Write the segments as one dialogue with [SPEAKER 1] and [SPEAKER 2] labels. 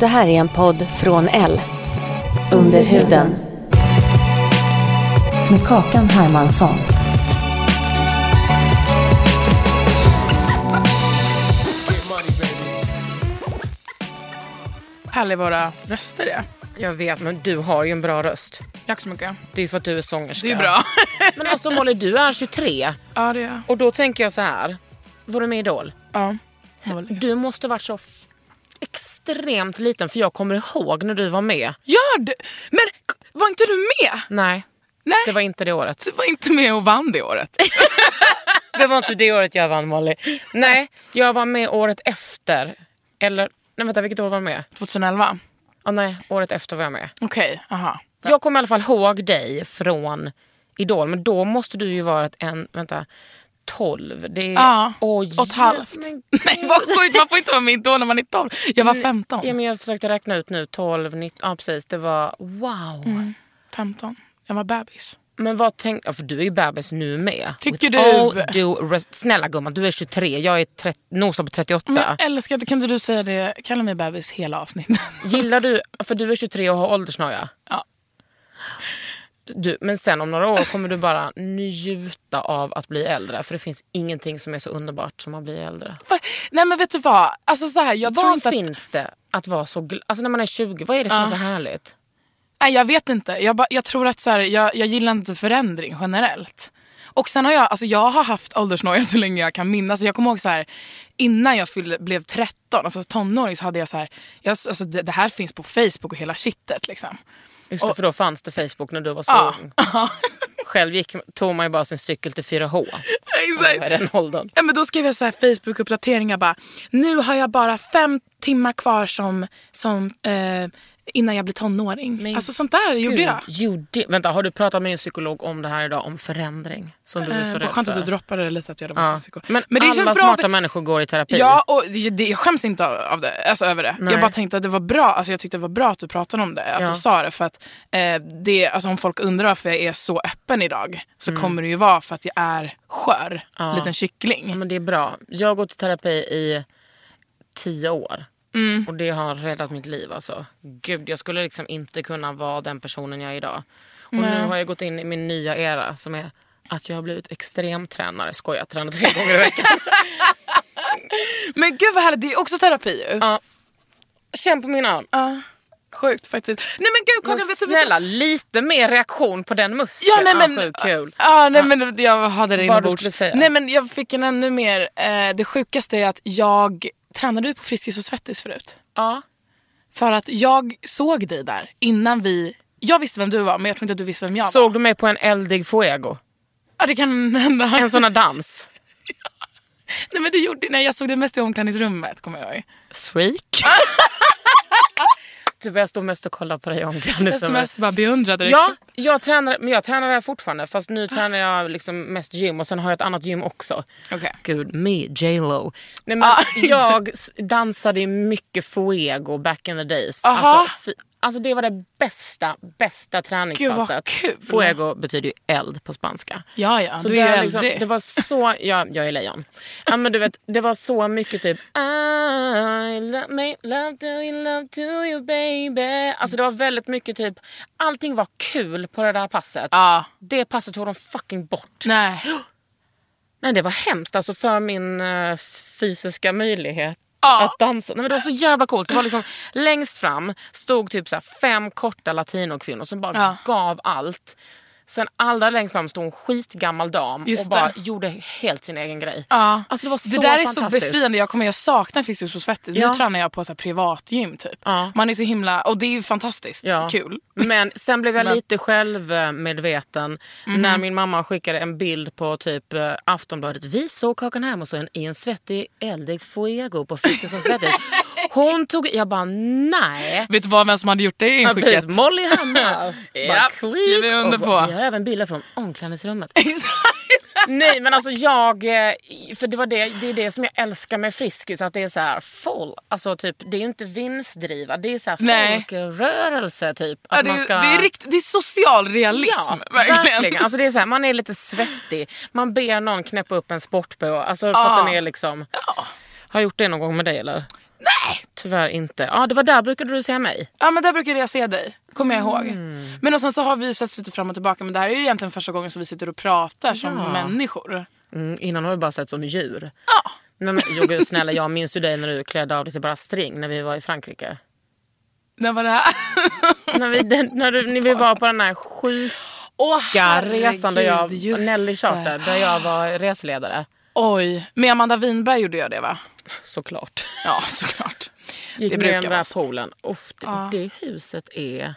[SPEAKER 1] Det här är en podd från L. Under huden. Med Kakan Hermansson.
[SPEAKER 2] Härliga våra röster är.
[SPEAKER 3] Jag vet, men du har ju en bra röst.
[SPEAKER 2] Tack så mycket.
[SPEAKER 3] Det är ju för att du är sångerska.
[SPEAKER 2] Det är bra.
[SPEAKER 3] Men alltså Molly, du är 23
[SPEAKER 2] ja, det är
[SPEAKER 3] och då tänker jag så här. Var du med i Idol?
[SPEAKER 2] ja. Det var länge.
[SPEAKER 3] Du måste varit så f- extremt liten för jag kommer ihåg när du var med.
[SPEAKER 2] Gör du? Men k- var inte du med?
[SPEAKER 3] Nej,
[SPEAKER 2] Nej,
[SPEAKER 3] det var inte det året.
[SPEAKER 2] du var inte med och vann det året.
[SPEAKER 3] Det var inte det året jag vann Molly. Nej, jag var med året efter. Eller, nej vänta vilket år var jag med?
[SPEAKER 2] 2011?
[SPEAKER 3] Ah, nej, året efter var jag med.
[SPEAKER 2] Okej, aha.
[SPEAKER 3] Jag kommer i alla fall ihåg dig från Idol, men då måste du ju vara ett en, vänta, 12. Det är,
[SPEAKER 2] Ja,
[SPEAKER 3] Oj,
[SPEAKER 2] och ett halvt.
[SPEAKER 3] men-
[SPEAKER 2] Nej vad sjukt, man får inte vara med i Idol när man är 12. Jag var 15.
[SPEAKER 3] Ja, men jag försökte räkna ut nu, 12, 19, ja precis, det var wow.
[SPEAKER 2] Mm. 15. Jag var bebis.
[SPEAKER 3] Men vad tänk, ja, för du är ju bebis nu med.
[SPEAKER 2] Tycker
[SPEAKER 3] With
[SPEAKER 2] du?
[SPEAKER 3] all due res- Snälla gumman, du är 23, jag är 30, nosar på 38.
[SPEAKER 2] Men jag älskar, att- kan inte du säga det, kalla mig bebis hela avsnittet.
[SPEAKER 3] Gillar du, för du är 23 och har åldersnoja.
[SPEAKER 2] Ja.
[SPEAKER 3] Du, men sen om några år kommer du bara njuta av att bli äldre. För det finns ingenting som är så underbart som att bli äldre.
[SPEAKER 2] Va? Nej men vet du vad, alltså så här, jag tror
[SPEAKER 3] Vad
[SPEAKER 2] inte att...
[SPEAKER 3] finns det att vara så gl- Alltså när man är 20, vad är det som är så härligt?
[SPEAKER 2] Nej, jag vet inte. Jag, bara- jag tror att så här, jag, jag gillar inte förändring generellt. Och sen har jag, alltså jag har haft åldersnoja så länge jag kan minnas. Jag kommer ihåg så här, innan jag fyllde, blev 13, alltså tonåring, så hade jag så här, jag, alltså det, det här finns på Facebook och hela shitet liksom.
[SPEAKER 3] Just det, för då fanns det Facebook när du var så
[SPEAKER 2] Ja.
[SPEAKER 3] ung.
[SPEAKER 2] Ja,
[SPEAKER 3] Själv gick, tog man ju bara sin cykel till 4H. Vad är
[SPEAKER 2] exakt.
[SPEAKER 3] den åldern?
[SPEAKER 2] Ja, men då skrev jag så här Facebook-uppdateringar bara, nu har jag bara fem timmar kvar som, som eh, innan jag blir tonåring.
[SPEAKER 3] Men
[SPEAKER 2] alltså sånt där gjorde
[SPEAKER 3] Gud,
[SPEAKER 2] jag.
[SPEAKER 3] Gjorde, vänta, har du pratat med din psykolog om det här idag? Om förändring? Som du är
[SPEAKER 2] Eh,
[SPEAKER 3] så
[SPEAKER 2] vad
[SPEAKER 3] rädd
[SPEAKER 2] skönt att
[SPEAKER 3] för?
[SPEAKER 2] du droppade det lite att jag var
[SPEAKER 3] Ja.
[SPEAKER 2] som psykolog.
[SPEAKER 3] Men, alla smarta människor går i terapi.
[SPEAKER 2] Ja, och det- det, jag skäms inte av av det, alltså över det.
[SPEAKER 3] Nej.
[SPEAKER 2] Jag bara tänkte att det var bra, alltså jag tyckte det var bra att du pratade om det, att
[SPEAKER 3] Ja.
[SPEAKER 2] du sa det. För att eh, det, alltså om folk undrar varför jag är så öppen idag så kommer det ju vara för att jag är skör, liten kyckling.
[SPEAKER 3] Mm. Ja, Mm. men det är bra. Jag har gått i terapi i tio år.
[SPEAKER 2] Mm.
[SPEAKER 3] Och det har räddat mitt liv alltså. Gud, jag skulle liksom inte kunna vara den personen jag är idag. Och nu har jag gått in i min nya era som är att jag har blivit extremtränare. Skoja, tränar tre gånger i veckan.
[SPEAKER 2] Men gud vad härligt, det är också terapi ju.
[SPEAKER 3] Ja. Känn på min arm.
[SPEAKER 2] Ja, Sjukt faktiskt. Nej men gud
[SPEAKER 3] Men
[SPEAKER 2] Kakan, vet du- vet du...
[SPEAKER 3] snälla, lite mer reaktion på den muskeln.
[SPEAKER 2] Ja, nej, men,
[SPEAKER 3] Ah, sjukt kul.
[SPEAKER 2] Ja, nej, men jag hade det
[SPEAKER 3] Vad du
[SPEAKER 2] inombords.
[SPEAKER 3] skulle säga.
[SPEAKER 2] Nej, men jag fick en ännu mer... Eh, det sjukaste är att jag tränade ju på Friskis och Svettis förut.
[SPEAKER 3] Ja.
[SPEAKER 2] För att jag såg dig där innan vi... Jag visste vem du var, men jag tror inte att du visste vem jag var.
[SPEAKER 3] Såg du mig på en eldig fuego?
[SPEAKER 2] Ja, det kan hända.
[SPEAKER 3] En sån här dans?
[SPEAKER 2] Nej, men du gjorde... Nej, jag såg dig mest i omklädningsrummet, kommer jag ihåg.
[SPEAKER 3] Freak. typ jag står mest och kollar på dig i omklädningsrummet.
[SPEAKER 2] Sms bara beundrade dig.
[SPEAKER 3] Ja, jag tränar, men jag tränar där fortfarande. Fast nu tränar jag liksom mest gym och sen har jag ett annat gym också.
[SPEAKER 2] Okej.
[SPEAKER 3] Gud, me, J Lo. Nej, men
[SPEAKER 2] Ah.
[SPEAKER 3] jag s- dansade mycket fuego back in the days.
[SPEAKER 2] Aha.
[SPEAKER 3] Alltså, fy, alltså det var det bästa, bästa träningspasset.
[SPEAKER 2] kul.
[SPEAKER 3] Fuego betyder ju eld på spanska.
[SPEAKER 2] Ja, ja.
[SPEAKER 3] Så
[SPEAKER 2] du är
[SPEAKER 3] där
[SPEAKER 2] ju
[SPEAKER 3] liksom,
[SPEAKER 2] eldig.
[SPEAKER 3] det var så, ja, jag är lejon. Ja, men du vet, det var så mycket typ I love, me, love to you, love to you baby. Alltså det var väldigt mycket typ, allting var kul på det där passet.
[SPEAKER 2] Ja.
[SPEAKER 3] Det passet tog de fucking bort.
[SPEAKER 2] Nej.
[SPEAKER 3] Nej det var hemskt alltså för min eh, fysiska möjlighet att dansa. Nej, men det var så jävla coolt. Det var liksom, längst fram stod typ så här fem korta latinokvinnor som bara
[SPEAKER 2] Ja.
[SPEAKER 3] gav allt. Sen allra längst fram stod en skitgammal dam
[SPEAKER 2] Just
[SPEAKER 3] och bara
[SPEAKER 2] det.
[SPEAKER 3] gjorde helt sin egen grej.
[SPEAKER 2] Ja.
[SPEAKER 3] Alltså det var så
[SPEAKER 2] det där är så
[SPEAKER 3] fantastiskt.
[SPEAKER 2] befriande. Jag, kommer, jag saknar fysiskt och svettigt.
[SPEAKER 3] Ja.
[SPEAKER 2] Nu tränar jag på så här privatgym typ.
[SPEAKER 3] Ja.
[SPEAKER 2] Man är så himla, och det är ju fantastiskt
[SPEAKER 3] Ja.
[SPEAKER 2] kul.
[SPEAKER 3] Men sen blev jag
[SPEAKER 2] Men- Mhm.
[SPEAKER 3] lite självmedveten när min mamma skickade en bild på typ eh, Aftonbladet. Vi såg Kakan Hermansson i en svettig, eldig fuego på Fritzons svettig. Hon tog... Jag bara nej.
[SPEAKER 2] Vet du vad, vem som hade gjort det
[SPEAKER 3] Ja, precis.
[SPEAKER 2] inskickat?
[SPEAKER 3] Molly Hanna. Bara
[SPEAKER 2] Japp,
[SPEAKER 3] klick.
[SPEAKER 2] skriver jag under
[SPEAKER 3] Och
[SPEAKER 2] på.
[SPEAKER 3] Vi har även bilder från omklädningsrummet.
[SPEAKER 2] Exakt.
[SPEAKER 3] Nej men alltså jag, eh, för det, var det, det är det som jag älskar med Friskis, att det är så här full, alltså typ det är ju inte vinstdriva, det är så här
[SPEAKER 2] Nej.
[SPEAKER 3] folkrörelse typ. Att
[SPEAKER 2] Ja, det, är-
[SPEAKER 3] man ska...
[SPEAKER 2] det, är rikt, det är social realism.
[SPEAKER 3] Ja,
[SPEAKER 2] Liksom, verkligen.
[SPEAKER 3] Alltså det är så här, man är lite svettig, man ber någon knäppa upp en sportbh. Alltså för att
[SPEAKER 2] Ja.
[SPEAKER 3] den är liksom... Har jag gjort det någon gång med dig eller? Nej! Tyvärr inte. Ja, det var där brukade du säga mig.
[SPEAKER 2] Ja men där brukade jag se dig, kommer jag ihåg.
[SPEAKER 3] Mm.
[SPEAKER 2] Men och sen så har vi ju setts lite fram och tillbaka men det här är ju egentligen första gången som vi sitter och pratar som människor.
[SPEAKER 3] Mm, innan har vi bara sett som djur. Nej, men, jo, gud, snälla, jag minns ju dig när du klädde av dig till bara string när vi var i Frankrike.
[SPEAKER 2] När var det här?
[SPEAKER 3] när, vi, den, när, du, när vi var på den här sjuka
[SPEAKER 2] Åh
[SPEAKER 3] resan där jag,
[SPEAKER 2] herregud, just
[SPEAKER 3] Nelly
[SPEAKER 2] det.
[SPEAKER 3] Charter, där jag var reseledare.
[SPEAKER 2] Oj, med Amanda Winberg gjorde jag det va?
[SPEAKER 3] Såklart.
[SPEAKER 2] Ja såklart.
[SPEAKER 3] Gick med i
[SPEAKER 2] det brukar
[SPEAKER 3] den
[SPEAKER 2] vara
[SPEAKER 3] där
[SPEAKER 2] så.
[SPEAKER 3] poolen. Uff, det,
[SPEAKER 2] Ja.
[SPEAKER 3] det huset är det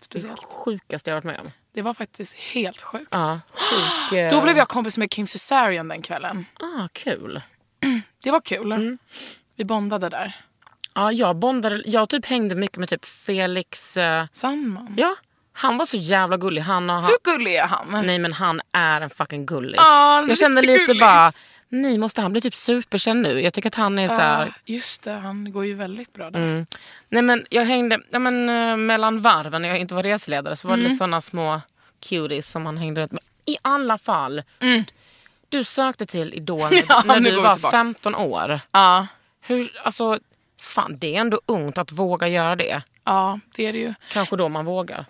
[SPEAKER 2] Speciellt.
[SPEAKER 3] sjukaste jag har varit med om.
[SPEAKER 2] Det var faktiskt helt sjukt.
[SPEAKER 3] Ja, sjuk, eh,
[SPEAKER 2] Då blev jag kompis med Kim Cesarion den kvällen.
[SPEAKER 3] Ah, kul.
[SPEAKER 2] Det var kul.
[SPEAKER 3] Mm.
[SPEAKER 2] Vi bondade där.
[SPEAKER 3] Ja, jag bondade, jag typ hängde mycket med typ Felix. Eh,
[SPEAKER 2] Samman.
[SPEAKER 3] ja, han var så jävla gullig. Han och han,
[SPEAKER 2] Hur gullig är han?
[SPEAKER 3] Nej men han är en fucking gullis.
[SPEAKER 2] Ja, en
[SPEAKER 3] jag kände
[SPEAKER 2] riktig
[SPEAKER 3] lite
[SPEAKER 2] gullis.
[SPEAKER 3] bara, nej måste han bli typ superkänd nu? Jag tycker att han är så här.
[SPEAKER 2] Ja, just det, han går ju väldigt bra där.
[SPEAKER 3] Mm. Nej men jag hängde, ja, men, eh, mellan varven när jag inte var reseledare så var
[SPEAKER 2] Mm.
[SPEAKER 3] det sådana små cuties som man hängde runt med. I alla fall. Du sökte till Idol när,
[SPEAKER 2] Mm. Ja,
[SPEAKER 3] när
[SPEAKER 2] nu
[SPEAKER 3] du
[SPEAKER 2] går vi
[SPEAKER 3] var
[SPEAKER 2] tillbaka.
[SPEAKER 3] 15 år.
[SPEAKER 2] Ja.
[SPEAKER 3] Hur, alltså, fan det är ändå ungt att våga göra det.
[SPEAKER 2] ja, det är det ju.
[SPEAKER 3] Kanske då man vågar.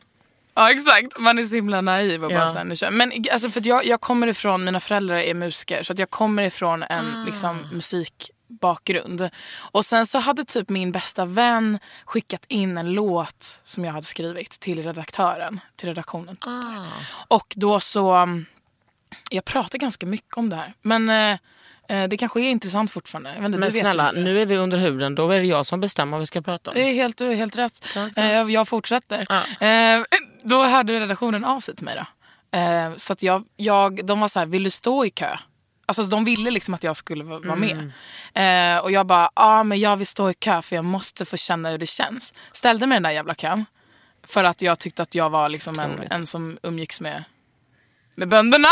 [SPEAKER 2] Ja exakt, man är så himla naiv och bara
[SPEAKER 3] Ja.
[SPEAKER 2] så här, nu kör. Men alltså, för att jag, jag kommer ifrån, mina föräldrar är musiker så att jag kommer ifrån
[SPEAKER 3] Ah.
[SPEAKER 2] en liksom, musikbakgrund. Och sen så hade typ min bästa vän skickat in en låt som jag hade skrivit till redaktören, till redaktionen.
[SPEAKER 3] Ah.
[SPEAKER 2] Och då så, um, jag pratar ganska mycket om det här men eh, eh, det kanske är intressant fortfarande. Jag vet inte,
[SPEAKER 3] Men
[SPEAKER 2] du vet ju
[SPEAKER 3] snälla,
[SPEAKER 2] inte. Eh.
[SPEAKER 3] nu är vi under huden. Då är det jag som bestämmer vad vi ska prata om.
[SPEAKER 2] Det är helt, du är helt rätt.
[SPEAKER 3] tack.
[SPEAKER 2] Eh, jag, jag fortsätter.
[SPEAKER 3] Ja.
[SPEAKER 2] Eh, då hörde redaktionen av sig till mig. Då. Eh, så att jag, jag, de var så här, vill du stå i kö? Alltså de ville liksom att jag skulle va- vara
[SPEAKER 3] Mm.
[SPEAKER 2] med. Eh, och jag bara, ja men jag vill stå i kö för jag måste få känna hur det känns. Ställde mig i den där jävla kön. För att jag tyckte att jag var liksom en,
[SPEAKER 3] Otroligt.
[SPEAKER 2] en som umgicks med, med bönderna.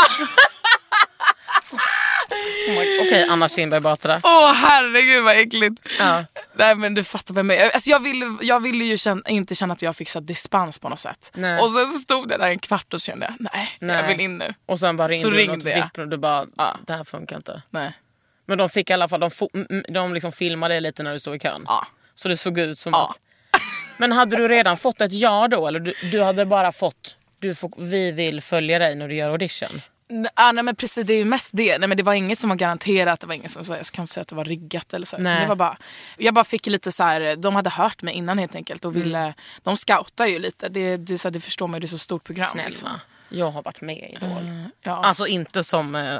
[SPEAKER 3] Okej, Anna Kinberg Batra.
[SPEAKER 2] Åh herregud vad äckligt.
[SPEAKER 3] Ja.
[SPEAKER 2] Nej men du fattar vem jag är. Alltså, jag, ville, jag ville ju känna, inte känna att jag fick så här dispens på något sätt.
[SPEAKER 3] Nej.
[SPEAKER 2] Och sen så stod jag där en kvart och så kände jag, nej, jag
[SPEAKER 3] Nej.
[SPEAKER 2] vill in nu.
[SPEAKER 3] Och sen bara
[SPEAKER 2] Så
[SPEAKER 3] ringde du
[SPEAKER 2] ringde
[SPEAKER 3] något
[SPEAKER 2] jag.
[SPEAKER 3] vippen och du bara, "Ah,
[SPEAKER 2] Ja.
[SPEAKER 3] det här funkar inte.
[SPEAKER 2] Nej.
[SPEAKER 3] Men de fick i alla fall, de, fo- m- m- de liksom filmade dig lite när du stod i kön.
[SPEAKER 2] Ja.
[SPEAKER 3] Så det såg ut som
[SPEAKER 2] Ja.
[SPEAKER 3] att... Men hade du redan fått ett ja då? Eller du, du hade bara fått, du får, vi vill följa dig när du gör audition?
[SPEAKER 2] N- ah, nej men precis, det är ju mest det. Nej, men det var inget som var garanterat, det var inget som så här, jag kan inte säga att det var riggat eller så. utan
[SPEAKER 3] Nej.
[SPEAKER 2] Det var bara, jag bara fick lite så här, de hade hört mig innan helt enkelt
[SPEAKER 3] Mm.
[SPEAKER 2] och ville, de scoutar ju lite. Det, det, är så här, du förstår mig, det är så stort program. liksom. Eh,
[SPEAKER 3] Snälla, jag har varit med i Idol.
[SPEAKER 2] Ja.
[SPEAKER 3] Alltså inte som eh,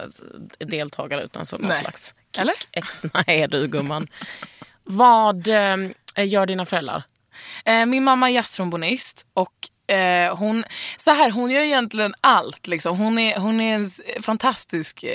[SPEAKER 3] deltagare utan som någon
[SPEAKER 2] Nej.
[SPEAKER 3] slags...
[SPEAKER 2] eller?
[SPEAKER 3] Ex, nej du gumman. Vad eh, gör dina föräldrar?
[SPEAKER 2] Eh, min mamma är jazztrombonist och eh, hon, så här, hon gör egentligen allt. Liksom. Hon, är, hon är en s- fantastisk eh,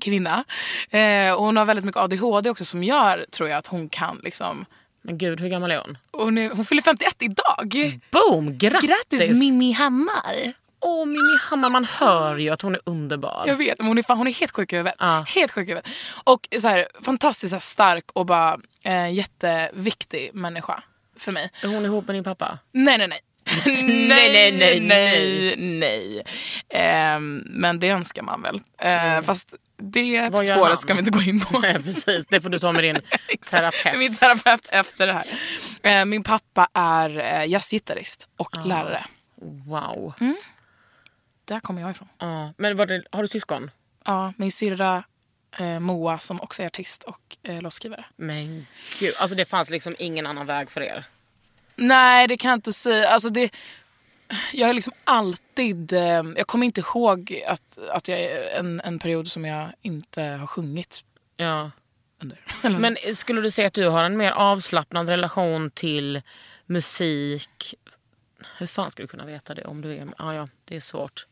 [SPEAKER 2] kvinna. Eh, och hon har väldigt mycket ADHD också som gör tror jag att hon kan. Liksom.
[SPEAKER 3] Men gud, hur gammal är hon?
[SPEAKER 2] Hon, är, hon fyller 51 idag.
[SPEAKER 3] Boom! Grattis!
[SPEAKER 2] Grattis Mimmi Hammar!
[SPEAKER 3] Åh, Mimmi Hammar, man hör ju att hon är underbar.
[SPEAKER 2] Jag vet, men hon är, fan, hon är helt sjuk i huvudet.
[SPEAKER 3] Ja.
[SPEAKER 2] Helt sjuk i huvudet. Och så här, fantastiskt så här, stark och bara eh, jätteviktig människa för mig.
[SPEAKER 3] Är hon ihop med din pappa?
[SPEAKER 2] Nej, nej, nej.
[SPEAKER 3] nej, nej,
[SPEAKER 2] nej, nej. Ehm, men det önskar man väl. Ehm, Fast det
[SPEAKER 3] Mm. Vad gör han?
[SPEAKER 2] spåret ska vi inte gå in på.
[SPEAKER 3] Nej, precis. Det får du ta med din
[SPEAKER 2] Exakt.
[SPEAKER 3] terapeut.
[SPEAKER 2] Med Min terapeut efter det här. Ehm, min pappa är eh, jazzgitarrist och
[SPEAKER 3] Ah.
[SPEAKER 2] lärare.
[SPEAKER 3] Wow.
[SPEAKER 2] Mm. Där kommer jag ifrån.
[SPEAKER 3] Ja, men var det, har du syskon?
[SPEAKER 2] Ja, min syrra eh, Moa som också är artist och eh, låtskrivare.
[SPEAKER 3] Men gud, alltså det fanns liksom ingen annan väg för er.
[SPEAKER 2] Nej, det kan jag inte säga. Alltså det, jag har liksom alltid... Eh, jag kommer inte ihåg att, att jag är en, en period som jag inte har sjungit
[SPEAKER 3] Ja.
[SPEAKER 2] under.
[SPEAKER 3] Men skulle du säga att du har en mer avslappnad relation till musik? Hur fan ska du kunna veta det om du är... Ja, ja, det är svårt.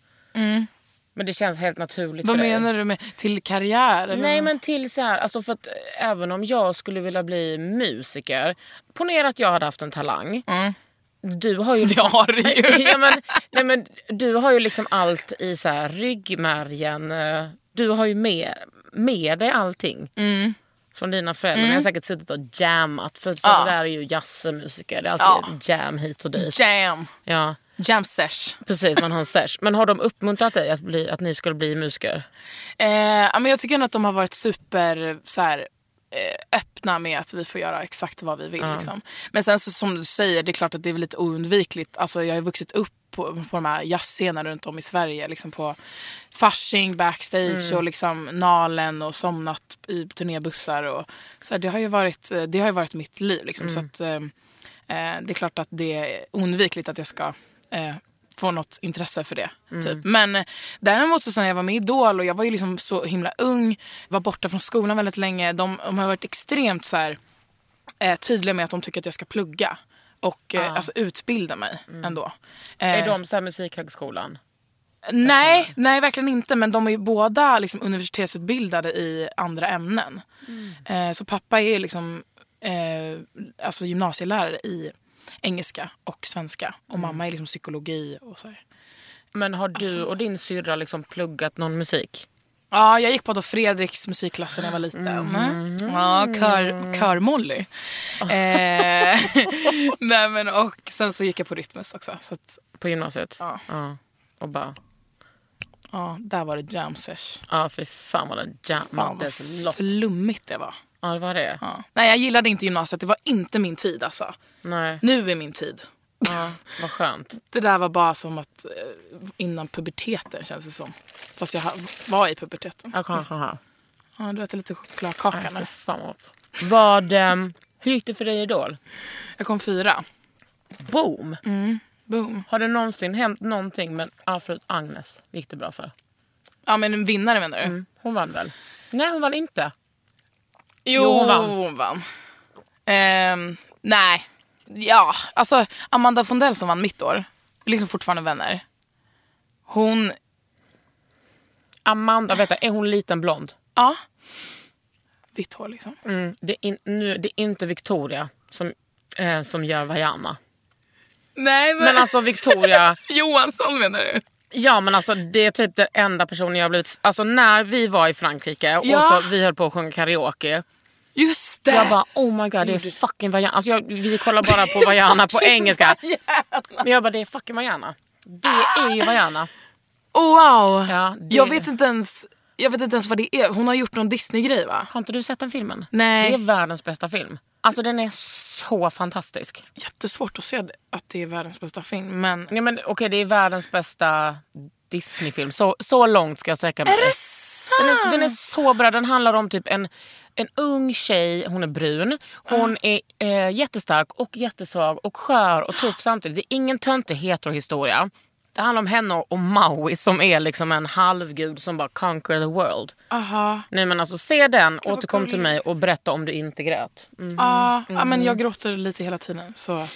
[SPEAKER 3] Men det känns helt naturligt
[SPEAKER 2] Mm. Vad
[SPEAKER 3] för dig.
[SPEAKER 2] menar du med till karriär? eller?
[SPEAKER 3] Nej men till så här, alltså för att eh, även om jag skulle vilja bli musiker, ponera att jag hade haft en talang. Du har ju...
[SPEAKER 2] Mm. Det har du ju.
[SPEAKER 3] ja, men, nej, men, du har ju liksom allt i så här, ryggmärgen, eh, du har ju med, med dig allting.
[SPEAKER 2] Mm.
[SPEAKER 3] Från dina föräldrar. Ni har säkert suttit och jammat. För så
[SPEAKER 2] Ja.
[SPEAKER 3] det där är ju jazzmusiker. Det är alltid jam hit och dit.
[SPEAKER 2] Jam.
[SPEAKER 3] Ja,
[SPEAKER 2] Jam sesh.
[SPEAKER 3] precis, man har en sesh. Men har de uppmuntrat dig att, bli, att ni skulle bli musiker?
[SPEAKER 2] Eh, ja, men jag tycker ändå att de har varit super så här, eh, öppna med att vi får göra exakt vad vi vill. Liksom. Men sen så, som du säger, det är klart att det är väl lite oundvikligt. Alltså, jag har ju vuxit upp på, på de här jazzscenerna runt om i Sverige. Liksom på Fasching, backstage och liksom Nalen och somnat i turnébussar. Och, så här, det, har ju varit, eh, det har ju varit mitt liv. Liksom, Så att, eh, eh, det är klart att det är oundvikligt att jag ska eh, få något intresse för det. Typ. Men eh, däremot så sen jag var med i Idol och jag var ju liksom så himla ung, var borta från skolan väldigt länge. De, de har varit extremt så här, eh, tydliga med att de tycker att jag ska plugga och eh, alltså, utbilda mig ändå. Eh,
[SPEAKER 3] Är de så här Musikhögskolan?
[SPEAKER 2] Nej, nej verkligen inte. Men de är ju båda liksom universitetsutbildade i andra ämnen. Eh, så pappa är ju liksom, eh, alltså gymnasielärare i engelska och svenska. Och mamma är liksom psykologi och så här.
[SPEAKER 3] Men har du och din syrra liksom pluggat någon musik?
[SPEAKER 2] Ja, jag gick på då Fredriks musikklasser när jag var liten. Ja, kör, körmolly. Eh, nej men och sen så gick jag på Rytmus också. Så att,
[SPEAKER 3] På gymnasiet?
[SPEAKER 2] Ja.
[SPEAKER 3] Och bara,
[SPEAKER 2] ja, där var det jam sesh.
[SPEAKER 3] ja fy fan vad den
[SPEAKER 2] Fan vad
[SPEAKER 3] jammades loss.
[SPEAKER 2] flummigt det var.
[SPEAKER 3] Ja det var det.
[SPEAKER 2] Ja. Nej, jag gillade inte gymnasiet. Det var inte min tid alltså.
[SPEAKER 3] Nej,
[SPEAKER 2] Nu är min tid.
[SPEAKER 3] ja, vad skönt.
[SPEAKER 2] Det där var bara som att eh, innan puberteten känns det som. Fast jag ha- var i puberteten.
[SPEAKER 3] Jag kommer från här.
[SPEAKER 2] Ja, du äter lite
[SPEAKER 3] Nej,
[SPEAKER 2] chokladkaka
[SPEAKER 3] fy
[SPEAKER 2] nu.
[SPEAKER 3] fan vad gott. Vad, ehm, hur gick det för dig i Idol?
[SPEAKER 2] Jag kom fyra.
[SPEAKER 3] Boom!
[SPEAKER 2] Mm. Boom.
[SPEAKER 3] Har det någonsin hänt någonting men ja, förutom Agnes gick det bra för?
[SPEAKER 2] Ja, men en vinnare menar du?
[SPEAKER 3] Hon vann väl? Nej hon vann inte.
[SPEAKER 2] Jo,
[SPEAKER 3] hon vann.
[SPEAKER 2] hon vann. Ehm, nej. Ja, alltså Amanda Fondell som vann mitt år, vi är liksom fortfarande vänner. Hon,
[SPEAKER 3] Amanda, vänta, är hon liten blond?
[SPEAKER 2] ja. Vitt hår liksom.
[SPEAKER 3] Mm, det, är in, nu, det är inte Victoria som, eh, som gör Vajana.
[SPEAKER 2] Nej,
[SPEAKER 3] Men alltså Victoria
[SPEAKER 2] Johansson menar du?
[SPEAKER 3] Ja men alltså det är typ den enda personen jag har blivit... Alltså när vi var i Frankrike och
[SPEAKER 2] Ja.
[SPEAKER 3] så, vi höll på att sjunga karaoke.
[SPEAKER 2] Just det!
[SPEAKER 3] Jag bara oh my god det är fucking Vajana. Alltså jag, vi kollar bara på Vajana på engelska. Men jag bara det är fucking Vajana. Det är ju Vajana.
[SPEAKER 2] Oh, wow!
[SPEAKER 3] Ja, det-
[SPEAKER 2] jag, vet inte ens, jag vet inte ens vad det är. Hon har gjort någon Disney-grej va?
[SPEAKER 3] Har inte du sett den filmen?
[SPEAKER 2] Nej.
[SPEAKER 3] Det är världens bästa film. Alltså den är så fantastisk.
[SPEAKER 2] Jättesvårt att se det- att det är världens bästa film men...
[SPEAKER 3] Ja, men, Okej det är världens bästa Disney-film. Så, så långt ska jag sträcka mig.
[SPEAKER 2] Är det sant?
[SPEAKER 3] Den är, den är så bra. Den handlar om typ en, en ung tjej, hon är brun.
[SPEAKER 2] Ah.
[SPEAKER 3] Hon är eh, jättestark och jättesvag och skör och tuff samtidigt. Det är ingen töntig heterohistoria. Det handlar om henne och Maui som är liksom en halvgud som bara conquer the world.
[SPEAKER 2] Aha.
[SPEAKER 3] Nej men alltså se den, återkom till mig och berätta om du inte grät. Mm.
[SPEAKER 2] Ja, ja, men jag gråter lite hela tiden så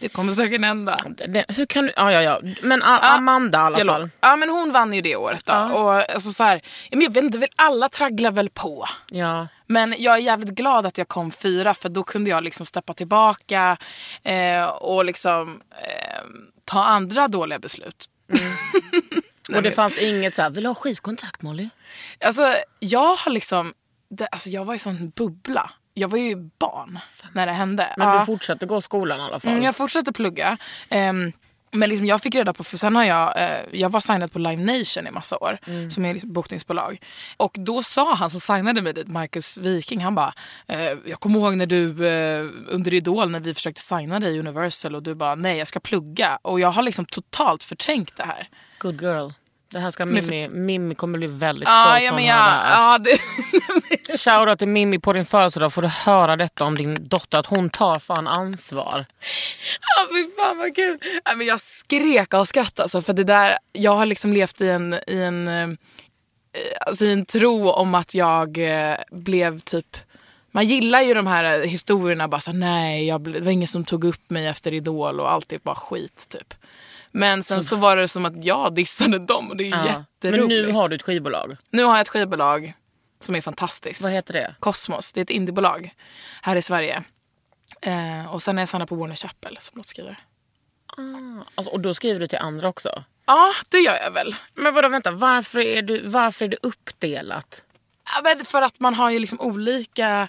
[SPEAKER 2] det kommer säkert hända.
[SPEAKER 3] Det, hur kan du, ja ja ja. Men A- Amanda i alla
[SPEAKER 2] Jag
[SPEAKER 3] fall.
[SPEAKER 2] lovar. Ja men hon vann ju det året då. Och alltså, så här, ja, men jag vet inte, väl alla tragglar väl på.
[SPEAKER 3] Ja.
[SPEAKER 2] Men jag är jävligt glad att jag kom fyra för då kunde jag liksom steppa tillbaka eh, och liksom eh, ta andra dåliga beslut.
[SPEAKER 3] Och det fanns inget så här, vill du ha skivkontrakt Molly?
[SPEAKER 2] Alltså, jag har liksom... Det, alltså, jag var i sån bubbla. Jag var ju barn när det hände.
[SPEAKER 3] Men
[SPEAKER 2] Ja.
[SPEAKER 3] du fortsatte gå i skolan i alla fall.
[SPEAKER 2] Mm, jag fortsatte plugga. Ehm, men liksom jag fick reda på, för sen har jag, eh, jag var signad på Live Nation i massa år,
[SPEAKER 3] Mm.
[SPEAKER 2] som är liksom bokningsbolag. Och då sa han som signade mig dit, Marcus Viking, han bara, eh, jag kommer ihåg när du eh, under Idol när vi försökte signa dig i Universal och du bara, nej jag ska plugga. Och jag har liksom totalt förträngt det här.
[SPEAKER 3] Good girl. Det här ska Mimmi, Mimmi kommer bli väldigt
[SPEAKER 2] Ja,
[SPEAKER 3] stolt
[SPEAKER 2] ja,
[SPEAKER 3] om hon
[SPEAKER 2] men jag,
[SPEAKER 3] hör det här.
[SPEAKER 2] ja, det,
[SPEAKER 3] Shoutout till Mimmi på din födelsedag får du höra detta om din dotter att hon tar fan ansvar.
[SPEAKER 2] ja, fy fan vad kul. Ja, men jag skrek av skratt alltså, för det där, jag har liksom levt i en, i en, eh, alltså, i en tro om att jag eh, blev typ man gillar ju de här eh, historierna, bara så här, nej, jag, ble- det var ingen som tog upp mig efter Idol och allt är bara skit typ. Men sen så, var det som att jag dissade dem och det är ju
[SPEAKER 3] Ja.
[SPEAKER 2] jätteroligt.
[SPEAKER 3] Men nu har du ett skivbolag.
[SPEAKER 2] Nu har jag ett skivbolag som är fantastiskt.
[SPEAKER 3] Vad heter det?
[SPEAKER 2] Kosmos. Det är ett indiebolag här i Sverige. Eh, och sen är jag Sanna på Warner Chapel som låtskrivare.
[SPEAKER 3] Alltså, och då skriver du till andra också.
[SPEAKER 2] Ja, det gör jag väl.
[SPEAKER 3] Men vadå vänta, varför är, du, varför är det uppdelat?
[SPEAKER 2] Ja, men För att man har ju liksom olika...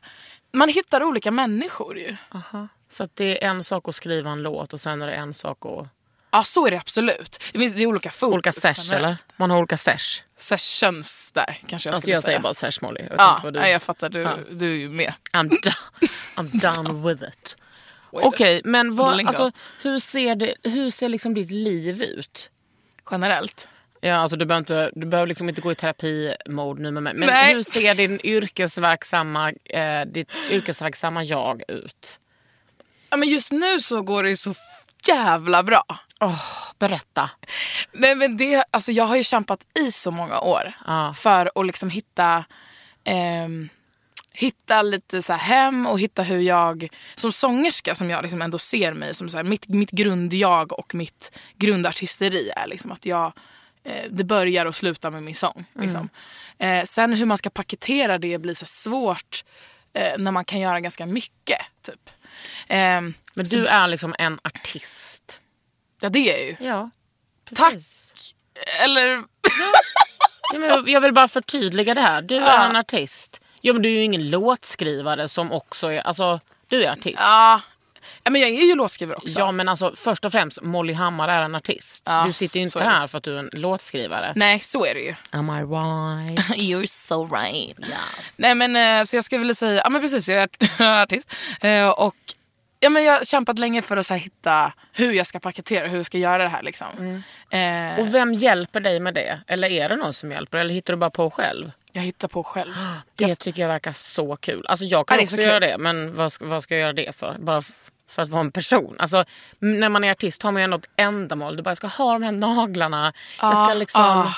[SPEAKER 2] Man hittar olika människor ju.
[SPEAKER 3] Så att det är en sak att skriva en låt och sen är det en sak att...
[SPEAKER 2] Ja, så är det absolut. Det finns det är olika fokus.
[SPEAKER 3] Olika sesh eller? Man har olika sesh.
[SPEAKER 2] Sessions där kanske jag
[SPEAKER 3] Alltså
[SPEAKER 2] skulle
[SPEAKER 3] jag
[SPEAKER 2] säga.
[SPEAKER 3] säger bara sesh Molly. Jag vet
[SPEAKER 2] ja,
[SPEAKER 3] inte vad du...
[SPEAKER 2] nej, jag fattar. Du, du är ju med.
[SPEAKER 3] I'm, do- I'm done with it. Okej, men vad,
[SPEAKER 2] Lingo.
[SPEAKER 3] alltså, hur ser, det, hur ser liksom ditt liv ut?
[SPEAKER 2] Generellt.
[SPEAKER 3] Ja, alltså, du, behöver inte, du behöver liksom inte gå i terapi-mode nu med mig. Men
[SPEAKER 2] Nej.
[SPEAKER 3] hur ser din yrkesverksamma, eh, ditt yrkesverksamma jag ut?
[SPEAKER 2] Ja, men just nu så går det ju så jävla bra.
[SPEAKER 3] Åh, berätta.
[SPEAKER 2] Nej, men det, alltså, jag har ju kämpat i så många år
[SPEAKER 3] Ja.
[SPEAKER 2] för att liksom hitta, ehm, hitta lite så här hem och hitta hur jag som sångerska, som jag liksom ändå ser mig som så här, mitt, mitt grundjag och mitt grundartisteri är liksom att jag eh, det börjar och slutar med min sång.
[SPEAKER 3] Mm.
[SPEAKER 2] Liksom. Eh, sen hur man ska paketera det blir så svårt eh, när man kan göra ganska mycket. Typ. Ehm,
[SPEAKER 3] Men du är liksom en artist.
[SPEAKER 2] ja, det är jag ju.
[SPEAKER 3] Ja, Tack.
[SPEAKER 2] Eller
[SPEAKER 3] Ja, men jag vill bara förtydliga det här. Du är en artist. Ja, men du är ju ingen låtskrivare som också är... Alltså, du är artist.
[SPEAKER 2] Ja. Ja, men jag är ju låtskrivare också.
[SPEAKER 3] Ja men alltså först och främst, Molly Hammar är en artist.
[SPEAKER 2] Ja,
[SPEAKER 3] du sitter ju
[SPEAKER 2] så
[SPEAKER 3] inte
[SPEAKER 2] är det.
[SPEAKER 3] här för att du är en låtskrivare.
[SPEAKER 2] Nej, så är det ju.
[SPEAKER 3] Am I right?
[SPEAKER 2] You're so right. Nej, men eh, så jag skulle vilja säga, ja men precis, jag är art- artist. Eh, Och ja, men jag har kämpat länge för att så här, hitta hur jag ska paketera, hur jag ska göra det här liksom. Eh,
[SPEAKER 3] Och vem hjälper dig med det? Eller är det någon som hjälper? Eller hittar du bara på själv?
[SPEAKER 2] jag hittar på själv.
[SPEAKER 3] Det tycker jag verkar så kul. Alltså jag kan
[SPEAKER 2] Ja, det är
[SPEAKER 3] också
[SPEAKER 2] så
[SPEAKER 3] göra
[SPEAKER 2] kul.
[SPEAKER 3] det, men vad ska, vad ska jag göra det för? Bara f- för att vara en person. Alltså, m- när man är artist har man ju ändå ett ändamål. Du bara, jag ska ha de här naglarna. jag
[SPEAKER 2] Ah,
[SPEAKER 3] ska liksom...
[SPEAKER 2] ja.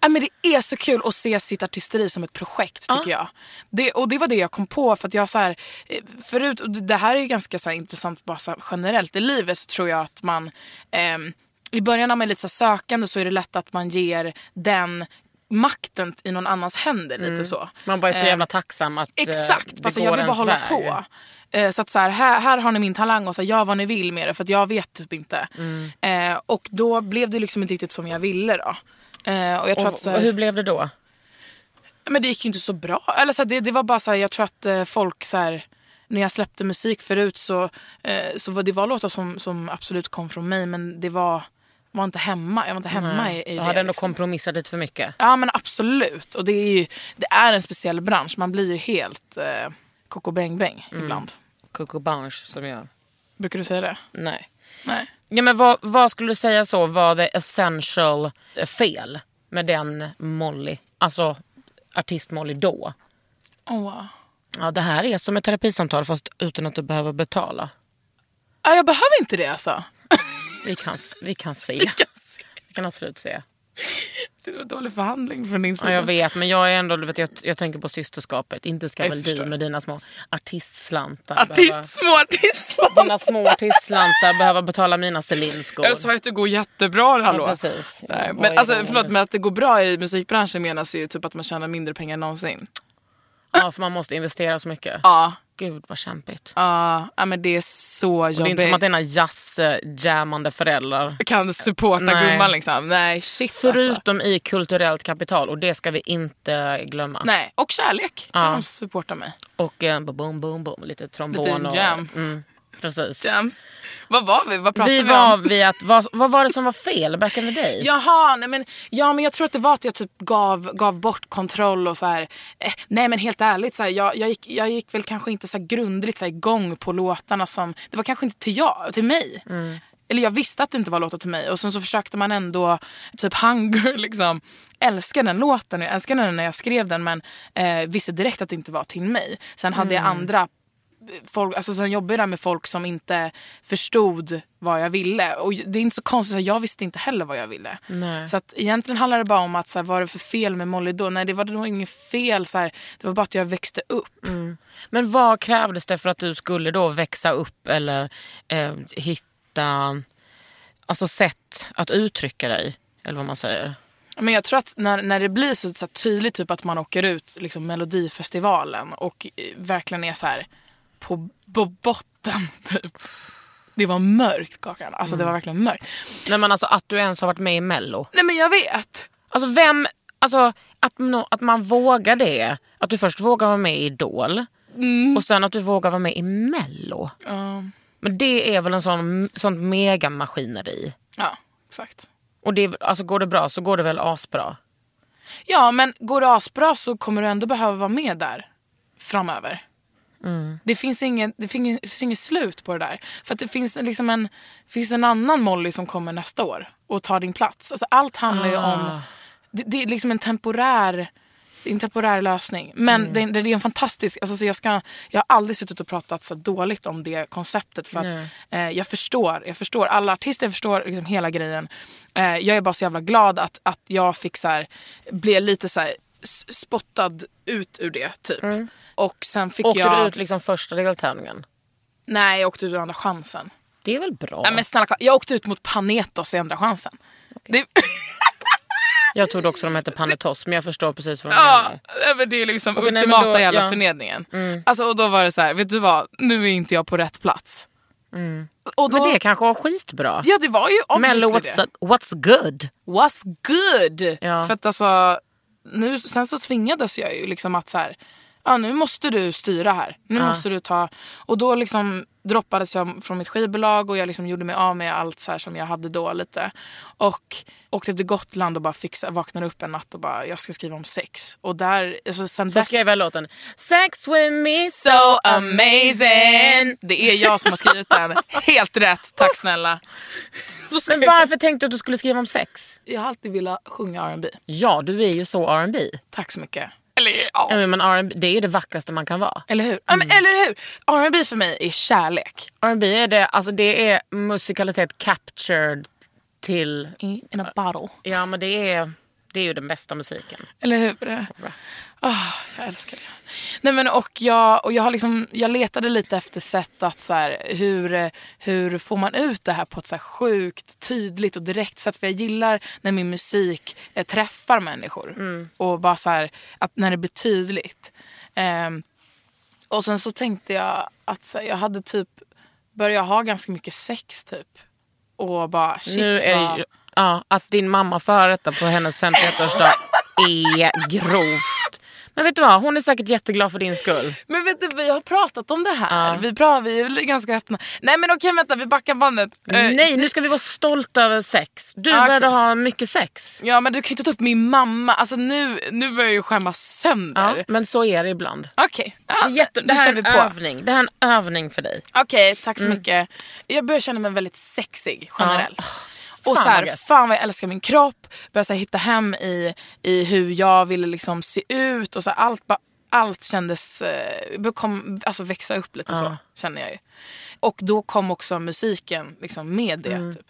[SPEAKER 2] Ja, men det är så kul att se sitt artisteri som ett projekt tycker jag. Det, och det var det jag kom på för att jag så här, eh, förut, och det- det här är ju ganska så här, intressant bara så här, generellt i livet så tror jag att man ehm, i början när man är lite så här, sökande så är det lätt att man ger den makten i någon annans händer lite så.
[SPEAKER 3] Mm. Man bara är så
[SPEAKER 2] Ehm,
[SPEAKER 3] jävla tacksam att eh,
[SPEAKER 2] Exakt,
[SPEAKER 3] det
[SPEAKER 2] alltså,
[SPEAKER 3] går
[SPEAKER 2] jag vill bara
[SPEAKER 3] ens
[SPEAKER 2] hålla
[SPEAKER 3] väg.
[SPEAKER 2] på. Eh, Så att så här, här, här har ni min talang och så här, gör vad ni vill med det för att jag vet typ inte.
[SPEAKER 3] Mm.
[SPEAKER 2] Eh, och då blev det liksom inte riktigt som jag ville då. Eh, och jag tror
[SPEAKER 3] Och,
[SPEAKER 2] att så
[SPEAKER 3] och
[SPEAKER 2] här,
[SPEAKER 3] hur blev det då?
[SPEAKER 2] men det gick ju inte så bra. Eller så här, det, det var bara så här, jag tror att eh, folk så här, när jag släppte musik förut så, eh, så var det var låtar som, som absolut kom från mig men det var, var inte hemma. Jag var inte hemma i, i
[SPEAKER 3] Jag
[SPEAKER 2] det.
[SPEAKER 3] hade ändå
[SPEAKER 2] liksom.
[SPEAKER 3] kompromissat lite för mycket.
[SPEAKER 2] Ja men absolut. Och det är ju det är en speciell bransch. Man blir ju helt eh, koko bäng bäng
[SPEAKER 3] Mm.
[SPEAKER 2] ibland.
[SPEAKER 3] Coco Bange som jag.
[SPEAKER 2] Brukar du säga det?
[SPEAKER 3] Nej.
[SPEAKER 2] Nej.
[SPEAKER 3] Ja, men vad, vad skulle du säga så var det essential eh, fel med den Molly? Alltså artist-Molly då?
[SPEAKER 2] Åh.
[SPEAKER 3] Ja, det här är som ett terapisamtal fast utan att du behöver betala.
[SPEAKER 2] Ja, jag behöver inte det alltså.
[SPEAKER 3] Vi kan, vi kan se.
[SPEAKER 2] Jag ser.
[SPEAKER 3] Vi kan absolut se.
[SPEAKER 2] Det var dålig förhandling från din sida.
[SPEAKER 3] Ja, jag vet, men jag är ändå, du vet, jag, jag tänker på systerskapet. Inte ska
[SPEAKER 2] Jag
[SPEAKER 3] väl
[SPEAKER 2] förstår.
[SPEAKER 3] du med dina små artistslantar behöva,
[SPEAKER 2] Artist, små
[SPEAKER 3] dina
[SPEAKER 2] artistland.
[SPEAKER 3] små artistslantar behöva betala mina Selinskor?
[SPEAKER 2] Jag sa ju att det går jättebra, hallå.
[SPEAKER 3] Ja, precis.
[SPEAKER 2] Nej, men
[SPEAKER 3] Eh, Vad är
[SPEAKER 2] alltså,
[SPEAKER 3] det?
[SPEAKER 2] förlåt, men att det går bra i musikbranschen menas ju typ att man tjänar mindre pengar än någonsin.
[SPEAKER 3] Ja, för man måste investera så mycket.
[SPEAKER 2] Ja,
[SPEAKER 3] Gud vad kämpigt. Alltså,
[SPEAKER 2] ja, ja men det är
[SPEAKER 3] Det är
[SPEAKER 2] så
[SPEAKER 3] inte som att
[SPEAKER 2] jobbigt.
[SPEAKER 3] dina jazzjammande föräldrar.
[SPEAKER 2] Kan supporta
[SPEAKER 3] Nej.
[SPEAKER 2] gumman liksom. Nej, shit alltså.
[SPEAKER 3] Förutom i kulturellt kapital och det ska vi inte glömma.
[SPEAKER 2] Nej, och kärlek kan
[SPEAKER 3] Ja.
[SPEAKER 2] de supporta mig.
[SPEAKER 3] Och eh, boom, boom, boom, lite trombon
[SPEAKER 2] Lite
[SPEAKER 3] och...
[SPEAKER 2] jam.
[SPEAKER 3] Mm, precis.
[SPEAKER 2] Jams. Vad var vi? Vad pratade
[SPEAKER 3] Vi
[SPEAKER 2] vi,
[SPEAKER 3] var
[SPEAKER 2] om?
[SPEAKER 3] vid att, vad, vad var det som var fel back in the days?
[SPEAKER 2] Jaha, nej men, ja, men jag tror att det var att jag typ gav, gav bort kontroll och så här. Eh, nej men helt ärligt, så här, jag, jag, gick, jag gick väl kanske inte så här grundligt så här, igång på låtarna som, det var kanske inte till jag, till mig. Eller jag visste att det inte var låtar till mig och sen så försökte man ändå, typ Hunger liksom. Älskar den låten, jag älskar den när jag skrev den men eh, visste direkt att det inte var till mig. Sen hade jag andra folk, alltså sen jobbade jag där med folk som inte förstod vad jag ville. Och det är inte så konstigt, så här, jag visste inte heller vad jag ville.
[SPEAKER 3] Nej.
[SPEAKER 2] Så att egentligen handlar det bara om att så här, vad är det för fel med Molly då? Nej det var nog inget fel, så här, det var bara att jag växte upp.
[SPEAKER 3] Men vad krävdes det för att du skulle då växa upp eller eh, hitta alltså sätt att uttrycka dig? Eller vad man säger.
[SPEAKER 2] Men jag tror att när, när det blir så, så här, tydligt typ att man åker ut liksom, Melodifestivalen och eh, verkligen är så här på, på botten typ. Det var mörkt Kakan, alltså det var verkligen mörkt.
[SPEAKER 3] Nej, men alltså, att du ens har varit med i Mello.
[SPEAKER 2] Nej men jag vet!
[SPEAKER 3] Alltså vem, alltså att, nå- att man vågar det. Att du först vågar vara med i Idol och sen att du vågar vara med i Mello.
[SPEAKER 2] Ja,
[SPEAKER 3] Men det är väl en sån, sånt megamaskineri.
[SPEAKER 2] ja, exakt.
[SPEAKER 3] Och det, är- alltså går det bra så går det väl asbra.
[SPEAKER 2] Ja, men går det asbra så kommer du ändå behöva vara med där framöver. Det, finns ingen, det fin- finns inget slut på det där. För att det finns, liksom en, finns en annan Molly som kommer nästa år och tar din plats. Alltså allt handlar ju
[SPEAKER 3] Ah.
[SPEAKER 2] om... Det, det är liksom en temporär, det är en temporär lösning. Men
[SPEAKER 3] Mm.
[SPEAKER 2] det, det, det är en fantastisk... Alltså så jag, ska, jag har aldrig suttit och pratat så dåligt om det konceptet. För att, eh, jag, förstår, jag förstår alla artister, jag förstår liksom hela grejen. Eh, jag är bara så jävla glad att, att jag fick så här, bli lite så här, s- spottad ut ur det. typ. Och sen fick
[SPEAKER 3] Åkte
[SPEAKER 2] jag...
[SPEAKER 3] Mm. du ut liksom första deltävlingen?
[SPEAKER 2] Nej, jag åkte ut ur andra chansen.
[SPEAKER 3] Det är väl bra?
[SPEAKER 2] Nej, men snälla, Karl, jag åkte ut mot Panetos i andra chansen. Det,
[SPEAKER 3] Jag trodde också de hette Panetos men jag förstår precis vad du
[SPEAKER 2] ja,
[SPEAKER 3] menar.
[SPEAKER 2] nej, men det är liksom
[SPEAKER 3] Okej, nej, men
[SPEAKER 2] ultimata
[SPEAKER 3] då-
[SPEAKER 2] jävla
[SPEAKER 3] ja. Mm.
[SPEAKER 2] förnedringen. Alltså, och då var det så här, vet du vad, nu är inte jag på rätt plats. Och då,
[SPEAKER 3] Mm. Men det kanske var skitbra.
[SPEAKER 2] Ja, det var ju obviously
[SPEAKER 3] Mello
[SPEAKER 2] det.
[SPEAKER 3] what's, what's good?
[SPEAKER 2] was good.
[SPEAKER 3] Ja.
[SPEAKER 2] För att alltså, nu, sen så tvingades jag ju liksom att så här, ja nu måste du styra här. Nu måste du ta, och då liksom droppades jag från mitt skivbolag och jag liksom gjorde mig av med allt så här som jag hade då lite. Och åkte till Gotland och bara fixa, vaknade upp en natt och bara jag ska skriva om sex. Och där, alltså sen
[SPEAKER 3] Så skrev jag låten. Sex with me so
[SPEAKER 2] So amazing! Det är jag som har skrivit den. Helt rätt, tack snälla.
[SPEAKER 3] Men varför tänkte du att du skulle skriva om sex?
[SPEAKER 2] Jag har alltid velat sjunga R&B.
[SPEAKER 3] Ja, du är ju så R&B.
[SPEAKER 2] Tack så mycket. Eller ja.
[SPEAKER 3] Ja, men R&B Det är ju det vackraste man kan vara.
[SPEAKER 2] Eller hur? Ja, men, eller hur? R&B för mig är kärlek.
[SPEAKER 3] R&B är det, alltså det är musikalitet captured till...
[SPEAKER 2] In a bottle.
[SPEAKER 3] Ja, men det är, det är ju den bästa musiken.
[SPEAKER 2] Eller hur? Ah, jag älskar det. Nej, men, och jag, och jag, har liksom, jag letade lite efter sätt att så här, hur, eh, hur får man ut det här på ett så här, sjukt tydligt och direkt sätt. För jag gillar när min musik eh, träffar människor.
[SPEAKER 3] Mm.
[SPEAKER 2] Och bara så här, att när det blir tydligt. Ehm, och sen så tänkte jag att så här, jag hade typ börjat ha ganska mycket sex typ. Och bara shit
[SPEAKER 3] nu är det,
[SPEAKER 2] vad-
[SPEAKER 3] ju- ja, att din mamma får höra detta på hennes 51-årsdag är grovt. Men vet du vad, hon är säkert jätteglad för din skull.
[SPEAKER 2] Men vet du, vi har pratat om det här.
[SPEAKER 3] Ja.
[SPEAKER 2] Vi, bra, vi är ganska öppna. Nej men okej vänta, vi backar bandet. Eh,
[SPEAKER 3] Nej, nu ska vi vara stolta över sex. Du
[SPEAKER 2] Ah,
[SPEAKER 3] började
[SPEAKER 2] okej.
[SPEAKER 3] ha mycket sex.
[SPEAKER 2] Ja men du kan ju inte ta upp min mamma. Alltså nu, nu börjar jag ju skämmas sönder.
[SPEAKER 3] Ja, men så är det ibland.
[SPEAKER 2] Okej, ja,
[SPEAKER 3] Jätte, det
[SPEAKER 2] Eh. Ah, nu
[SPEAKER 3] här Mm.
[SPEAKER 2] kör
[SPEAKER 3] är
[SPEAKER 2] vi
[SPEAKER 3] en
[SPEAKER 2] på.
[SPEAKER 3] övning. Det här är en övning för dig.
[SPEAKER 2] Okej, tack så mycket. Jag börjar känna mig väldigt sexig generellt. Och
[SPEAKER 3] Fan
[SPEAKER 2] så
[SPEAKER 3] vad
[SPEAKER 2] här,
[SPEAKER 3] gött.
[SPEAKER 2] fan vad jag älskar min kropp. Börjar så här, hitta hem i, i hur jag ville liksom se ut. Och så här, allt, bara, allt kändes, eh, bör- kom, alltså växa upp lite så känner jag ju. Och då kom också musiken liksom med det.
[SPEAKER 3] Mm.
[SPEAKER 2] Typ.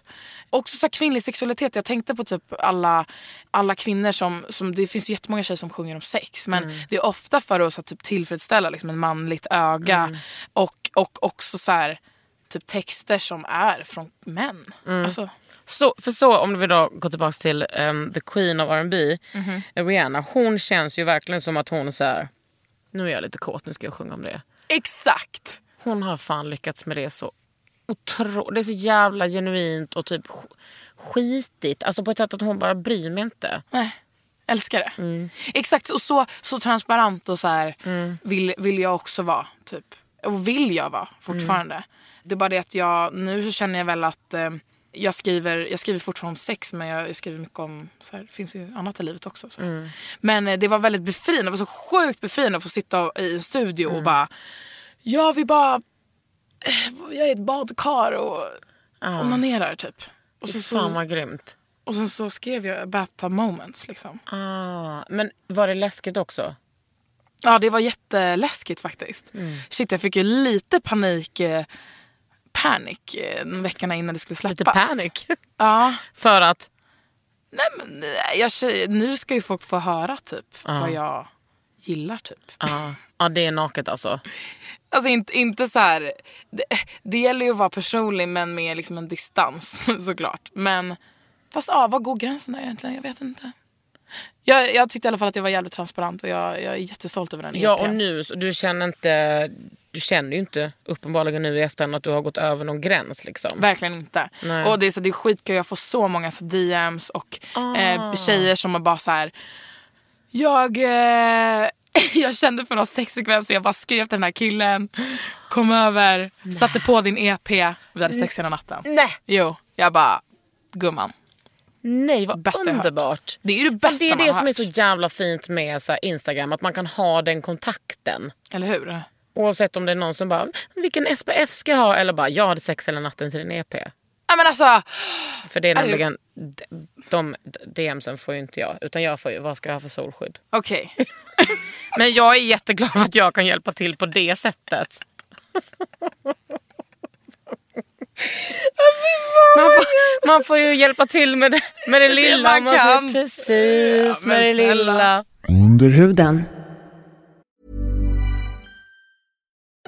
[SPEAKER 2] Också så här, kvinnlig sexualitet. Jag tänkte på typ alla, alla kvinnor som, som, det finns ju jättemånga tjejer som sjunger om sex. Men
[SPEAKER 3] Mm.
[SPEAKER 2] det är ofta för oss att typ tillfredsställa liksom, en manligt öga.
[SPEAKER 3] Mm.
[SPEAKER 2] Och, och också så här, typ texter som är från män.
[SPEAKER 3] Mm.
[SPEAKER 2] Alltså,
[SPEAKER 3] Så, för så om vi då går tillbaka till ehm, the queen of R&B, Rihanna. Hon känns ju verkligen som att hon så här, nu är jag lite kåt, nu ska jag sjunga om det.
[SPEAKER 2] Exakt!
[SPEAKER 3] Hon har fan lyckats med det så otroligt. Det är så jävla genuint och typ sk- skitigt. Alltså på ett sätt att hon bara bryr mig inte.
[SPEAKER 2] Nej, älskar det.
[SPEAKER 3] Mm.
[SPEAKER 2] Exakt, och så, så transparent och så här vill, vill jag också vara. Typ. Och vill jag vara fortfarande.
[SPEAKER 3] Mm.
[SPEAKER 2] Det är bara det att jag, nu så känner jag väl att eh, jag skriver, jag skriver fortfarande om sex men jag skriver mycket om, så här, det finns ju annat i livet också. Så. här.
[SPEAKER 3] Mm.
[SPEAKER 2] Men eh, det var väldigt befriande, det var så sjukt befriande att få sitta och- i en studio
[SPEAKER 3] Mm.
[SPEAKER 2] och bara, jag vill bara, eh, jag är ett badkar och onanerar typ. Och, så,
[SPEAKER 3] Fy fan
[SPEAKER 2] så,
[SPEAKER 3] vad grymt.
[SPEAKER 2] och sen så skrev jag bathtub moments liksom.
[SPEAKER 3] Ah, men var det läskigt också?
[SPEAKER 2] Ja, det var jätteläskigt faktiskt.
[SPEAKER 3] Mm.
[SPEAKER 2] Shit, jag fick ju lite panik, eh, panik eh, veckorna innan det skulle släppas.
[SPEAKER 3] Lite panik.
[SPEAKER 2] Ja,
[SPEAKER 3] För att?
[SPEAKER 2] nej men eh, jag, kö- nu ska ju folk få höra typ vad jag gillar typ.
[SPEAKER 3] Ja, ah, det är naket alltså.
[SPEAKER 2] Alltså inte, inte så här, det, det gäller ju att vara personlig men med liksom en distans såklart. Men fast ja, vad går gränsen där egentligen? Jag vet inte. Jag, jag tyckte i alla fall att jag var jävligt transparent och jag, jag är jättestolt över den E
[SPEAKER 3] Ja
[SPEAKER 2] EPn.
[SPEAKER 3] och nu, så du känner inte, du känner ju inte uppenbarligen nu i efterhand att du har gått över någon gräns liksom.
[SPEAKER 2] Verkligen inte.
[SPEAKER 3] Nej.
[SPEAKER 2] Och det är, så, det är skitkul, jag får så många så, DMs och
[SPEAKER 3] Ah.
[SPEAKER 2] eh, tjejer som har bara så här. Jag, eh, jag kände för någon sexsekvens så jag bara skrev till den här killen, kom över, satte på din EP, vi hade sex hela natten.
[SPEAKER 3] Nej.
[SPEAKER 2] Jo, jag bara, gumman.
[SPEAKER 3] Nej vad
[SPEAKER 2] Bästa jag hört.
[SPEAKER 3] underbart.
[SPEAKER 2] Det är ju det
[SPEAKER 3] För
[SPEAKER 2] bästa
[SPEAKER 3] det är
[SPEAKER 2] man
[SPEAKER 3] det
[SPEAKER 2] har
[SPEAKER 3] som är
[SPEAKER 2] hört.
[SPEAKER 3] så jävla fint med så här, Instagram, att man kan ha den kontakten.
[SPEAKER 2] Eller hur?
[SPEAKER 3] Oavsett om det är någon som bara, vilken SPF ska jag ha? Eller bara, jag hade sex hela natten till en EP.
[SPEAKER 2] Ja men alltså,
[SPEAKER 3] För det är
[SPEAKER 2] Aj.
[SPEAKER 3] nämligen, de, de DMsen får ju inte jag. Utan jag får ju, vad ska jag ha för solskydd?
[SPEAKER 2] okej.
[SPEAKER 3] Men jag är jätteglad för att jag kan hjälpa till på det sättet. Man får, man får ju hjälpa till med det, med det lilla
[SPEAKER 2] man
[SPEAKER 3] man, kan.
[SPEAKER 2] kan.
[SPEAKER 3] precis,
[SPEAKER 2] Ja, men
[SPEAKER 3] med det
[SPEAKER 2] snälla.
[SPEAKER 3] lilla.
[SPEAKER 4] Under huden.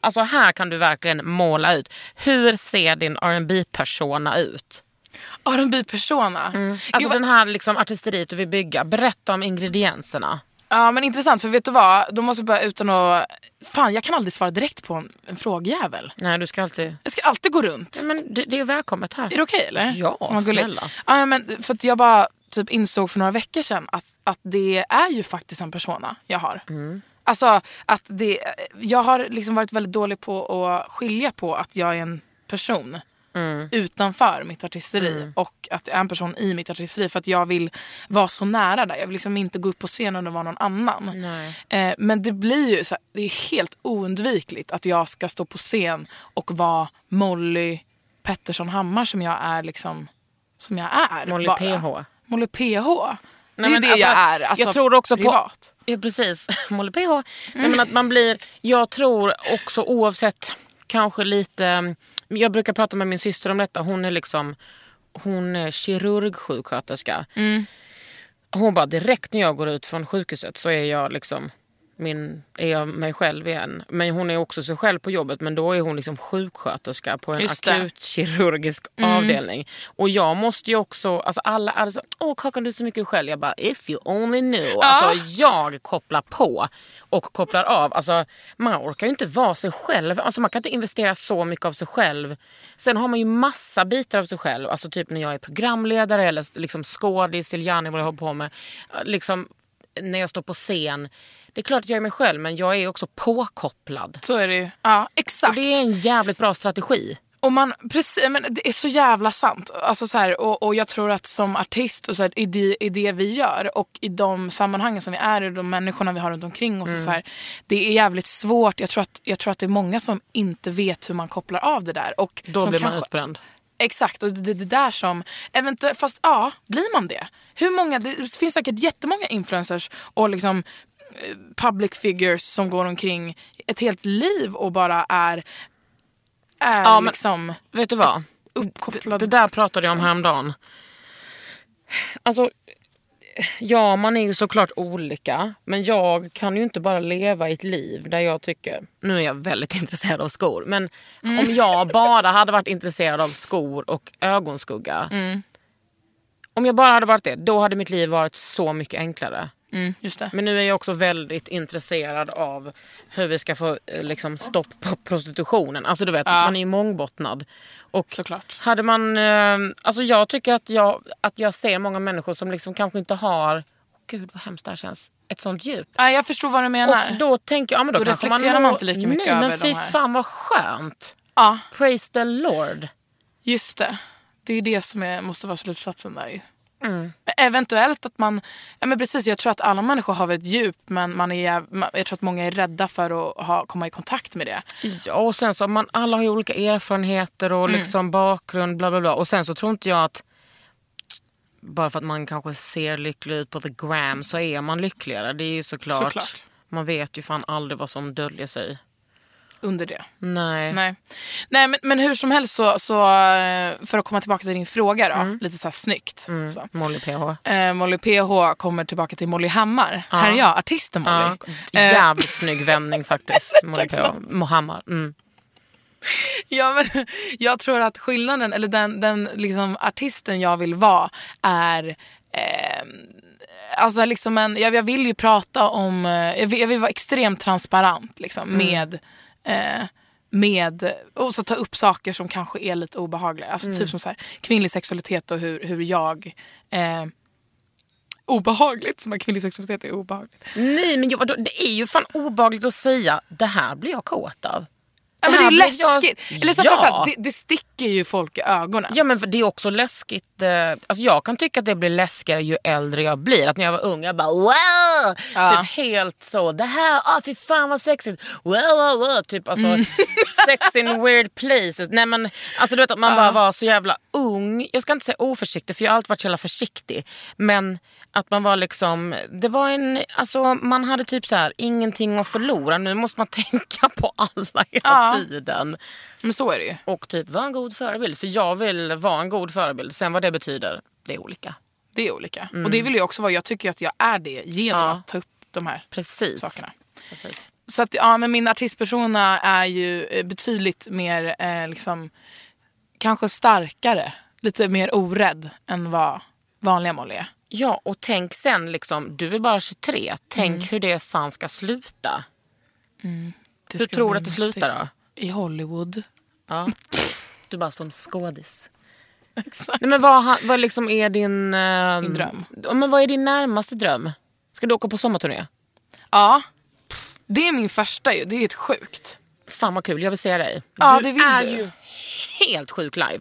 [SPEAKER 3] Alltså här kan du verkligen måla ut. Hur ser din rb persona ut?
[SPEAKER 2] rb persona
[SPEAKER 3] Alltså den här liksom artisteriet du vill bygga. Berätta om ingredienserna.
[SPEAKER 2] Ja men intressant för vet du vad, då måste jag bara utan att... Fan jag kan aldrig svara direkt på en, en frågjävel.
[SPEAKER 3] Nej du ska alltid...
[SPEAKER 2] Jag ska alltid gå runt.
[SPEAKER 3] Ja, Men det, det är välkommet här.
[SPEAKER 2] Är det okej eller?
[SPEAKER 3] Ja,
[SPEAKER 2] Om man går li-
[SPEAKER 3] snälla.
[SPEAKER 2] Ja, men för att jag bara typ insåg för några veckor sedan att, att det är ju faktiskt en persona jag har.
[SPEAKER 3] Mm.
[SPEAKER 2] Alltså att det, jag har liksom varit väldigt dålig på att skilja på att jag är en person
[SPEAKER 3] Mm.
[SPEAKER 2] utanför mitt artisteri och att jag är en person i mitt artisteri för att jag vill vara så nära där. Jag vill liksom inte gå upp på scenen och vara någon annan. Eh, men det blir ju så här, det är helt oundvikligt att jag ska stå på scen och vara Molly Pettersson Hammar som jag är liksom som jag är.
[SPEAKER 3] Molly
[SPEAKER 2] bara.
[SPEAKER 3] PH.
[SPEAKER 2] Molly PH. Det är
[SPEAKER 3] Nej,
[SPEAKER 2] ju
[SPEAKER 3] men
[SPEAKER 2] det
[SPEAKER 3] alltså,
[SPEAKER 2] jag är. Alltså,
[SPEAKER 3] jag tror också på-
[SPEAKER 2] privat.
[SPEAKER 3] Ja precis, Molly PH. Nej, men att man blir, jag tror också oavsett kanske lite, jag brukar prata med min syster om detta, hon är liksom hon är kirurgsjuksköterska.
[SPEAKER 2] Mm.
[SPEAKER 3] Hon bara direkt när jag går ut från sjukhuset så är jag liksom min, är jag mig själv igen. Men hon är också sig själv på jobbet men då är hon liksom sjuksköterska på en
[SPEAKER 2] Just det.
[SPEAKER 3] akutkirurgisk
[SPEAKER 2] Mm.
[SPEAKER 3] avdelning. Och jag måste ju också, alltså alla, alla så, åh Kakan du är så mycket dig själv. Jag bara if you only knew. Alltså jag kopplar på och kopplar av. Alltså man orkar ju inte vara sig själv. Alltså man kan inte investera så mycket av sig själv. Sen har man ju massa bitar av sig själv. Alltså typ när jag är programledare eller liksom skådis eller gärna vad jag håller på med. Liksom när jag står på scen. Det är klart att jag är mig själv men jag är också påkopplad.
[SPEAKER 2] Så är det ju. Ja, exakt.
[SPEAKER 3] Och det är en jävligt bra strategi.
[SPEAKER 2] Och man, precis, men det är så jävla sant. Alltså så här, och, och jag tror att som artist och så här, i, det, i det vi gör och i de sammanhangen som vi är i och de människorna vi har runt omkring
[SPEAKER 3] Mm.
[SPEAKER 2] oss. och Så här, det är jävligt svårt. Jag tror, att, jag tror att det är många som inte vet hur man kopplar av det där. Och
[SPEAKER 3] Då
[SPEAKER 2] som
[SPEAKER 3] blir man
[SPEAKER 2] kanske-
[SPEAKER 3] utbränd.
[SPEAKER 2] Exakt, och det är det där som... Eventuellt, fast ja, blir man det? Hur många, det finns säkert jättemånga influencers och liksom eh, public figures som går omkring ett helt liv och bara är är
[SPEAKER 3] Ja, men-
[SPEAKER 2] liksom
[SPEAKER 3] Vet du vad?
[SPEAKER 2] uppkopplad.
[SPEAKER 3] Det där pratade jag om häromdagen. Alltså, ja man är ju såklart olika. Men jag kan ju inte bara leva ett liv där jag tycker... Nu är jag väldigt intresserad av skor. Men om jag bara hade varit intresserad av skor och ögonskugga. Om jag bara hade varit det, då hade mitt liv varit så mycket enklare.
[SPEAKER 2] mm, just det.
[SPEAKER 3] Men nu är jag också väldigt intresserad av hur vi ska få eh, liksom, stopp på prostitutionen. Alltså du vet, man är ju mångbottnad. Och
[SPEAKER 2] Såklart.
[SPEAKER 3] hade man, eh, alltså jag tycker att jag, att jag ser många människor som liksom kanske inte har, Åh, gud vad hemskt det här känns, ett sånt djup.
[SPEAKER 2] Nej, jag förstår vad du menar.
[SPEAKER 3] Och då tänker jag, ja, men då,
[SPEAKER 2] Då
[SPEAKER 3] kanske
[SPEAKER 2] reflekterar
[SPEAKER 3] nå-
[SPEAKER 2] man inte lika mycket
[SPEAKER 3] Nej,
[SPEAKER 2] över
[SPEAKER 3] men
[SPEAKER 2] de
[SPEAKER 3] fy
[SPEAKER 2] här.
[SPEAKER 3] fan vad skönt.
[SPEAKER 2] ja,
[SPEAKER 3] Praise the Lord.
[SPEAKER 2] just det. Det är ju det som är, måste vara slutsatsen där ju.
[SPEAKER 3] Mm.
[SPEAKER 2] Men eventuellt att man, ja men precis jag tror att alla människor har väl ett djup men man är, jäv- ma- jag tror att många är rädda för att ha, komma i kontakt med det.
[SPEAKER 3] Ja, och sen så, man, alla har ju olika erfarenheter och
[SPEAKER 2] Mm.
[SPEAKER 3] liksom bakgrund. Bla, bla, bla. Och sen så tror inte jag att bara för att man kanske ser lycklig ut på the gram så är man lyckligare. Det är ju såklart.
[SPEAKER 2] Såklart.
[SPEAKER 3] Man vet ju fan aldrig vad som döljer sig.
[SPEAKER 2] Under det.
[SPEAKER 3] Mm. Nej.
[SPEAKER 2] Nej, Nej men, men hur som helst så, så eh, för att komma tillbaka till din fråga då,
[SPEAKER 3] Mm.
[SPEAKER 2] lite så här snyggt. Så.
[SPEAKER 3] Molly PH.
[SPEAKER 2] Eh, Molly PH kommer tillbaka till Molly Hammar. Här är jag, artisten Molly.
[SPEAKER 3] Ja, Eh. jävligt snygg vändning faktiskt. Molly PH. Mohammar. Mm.
[SPEAKER 2] Ja, men, jag tror att skillnaden, eller den, den liksom artisten jag vill vara är eh, Alltså liksom en, jag, jag vill ju prata om, eh, jag vill, jag vill vara extremt transparent liksom,
[SPEAKER 3] Mm.
[SPEAKER 2] med, eh, med, och så ta upp saker som kanske är lite obehagliga. Alltså
[SPEAKER 3] Mm.
[SPEAKER 2] typ som så här, kvinnlig sexualitet och hur, hur jag, eh, obehagligt, som att kvinnlig sexualitet är obehagligt.
[SPEAKER 3] Nej men jag, det är ju fan obagligt att säga det här blir jag kåt av.
[SPEAKER 2] Ja, men det är ju
[SPEAKER 3] Det här blir jag-
[SPEAKER 2] läskigt. Eller så
[SPEAKER 3] Ja.
[SPEAKER 2] framförallt, det, det sticker ju folk i ögonen.
[SPEAKER 3] Ja men för det är också läskigt. eh, Alltså jag kan tycka att det blir läskigare ju äldre jag blir. Att när jag var ung jag bara wow!
[SPEAKER 2] Ja.
[SPEAKER 3] Typ helt så. Det här, ah, fy fan vad sexigt. Wow, wow, wow. Typ alltså
[SPEAKER 2] Mm.
[SPEAKER 3] sex in weird places. Nej men alltså du vet att man bara var så jävla ung. Jag ska inte säga oförsiktig för jag har alltid varit så jävla försiktig. Men att man var liksom, det var en, alltså man hade typ så här ingenting att förlora. Nu måste man tänka på alla hela
[SPEAKER 2] Ja.
[SPEAKER 3] tiden.
[SPEAKER 2] Men så är det ju.
[SPEAKER 3] Och typ vara en god förebild. För jag vill vara en god förebild. Sen vad det betyder, det är olika.
[SPEAKER 2] Det är olika. Och det vill jag också vara. Jag tycker att jag är det genom
[SPEAKER 3] Mm. Ja.
[SPEAKER 2] att ta upp de här
[SPEAKER 3] Precis.
[SPEAKER 2] sakerna.
[SPEAKER 3] Precis.
[SPEAKER 2] Så att, ja, men min artistpersona är ju eh, betydligt mer, eh, liksom, kanske starkare, lite mer orädd än vad vanliga Molly är.
[SPEAKER 3] Ja, och tänk sen liksom, du är bara 23. Tänk hur det fan ska sluta.
[SPEAKER 2] Det
[SPEAKER 3] Hur
[SPEAKER 2] ska
[SPEAKER 3] tror
[SPEAKER 2] bli
[SPEAKER 3] du att det slutar
[SPEAKER 2] mäktigt. I Hollywood.
[SPEAKER 3] Ja. Du bara som skådis. Nej, men vad, ha- vad liksom är din... Eh,
[SPEAKER 2] Min dröm.
[SPEAKER 3] Ja, Men vad är din närmaste dröm? Ska du åka på sommarturné?
[SPEAKER 2] Ja. Det är min första ju. Det är ju ett sjukt.
[SPEAKER 3] Fan vad kul, jag vill se dig.
[SPEAKER 2] Ja,
[SPEAKER 3] du
[SPEAKER 2] det vill
[SPEAKER 3] är
[SPEAKER 2] du.
[SPEAKER 3] ju helt sjuk live.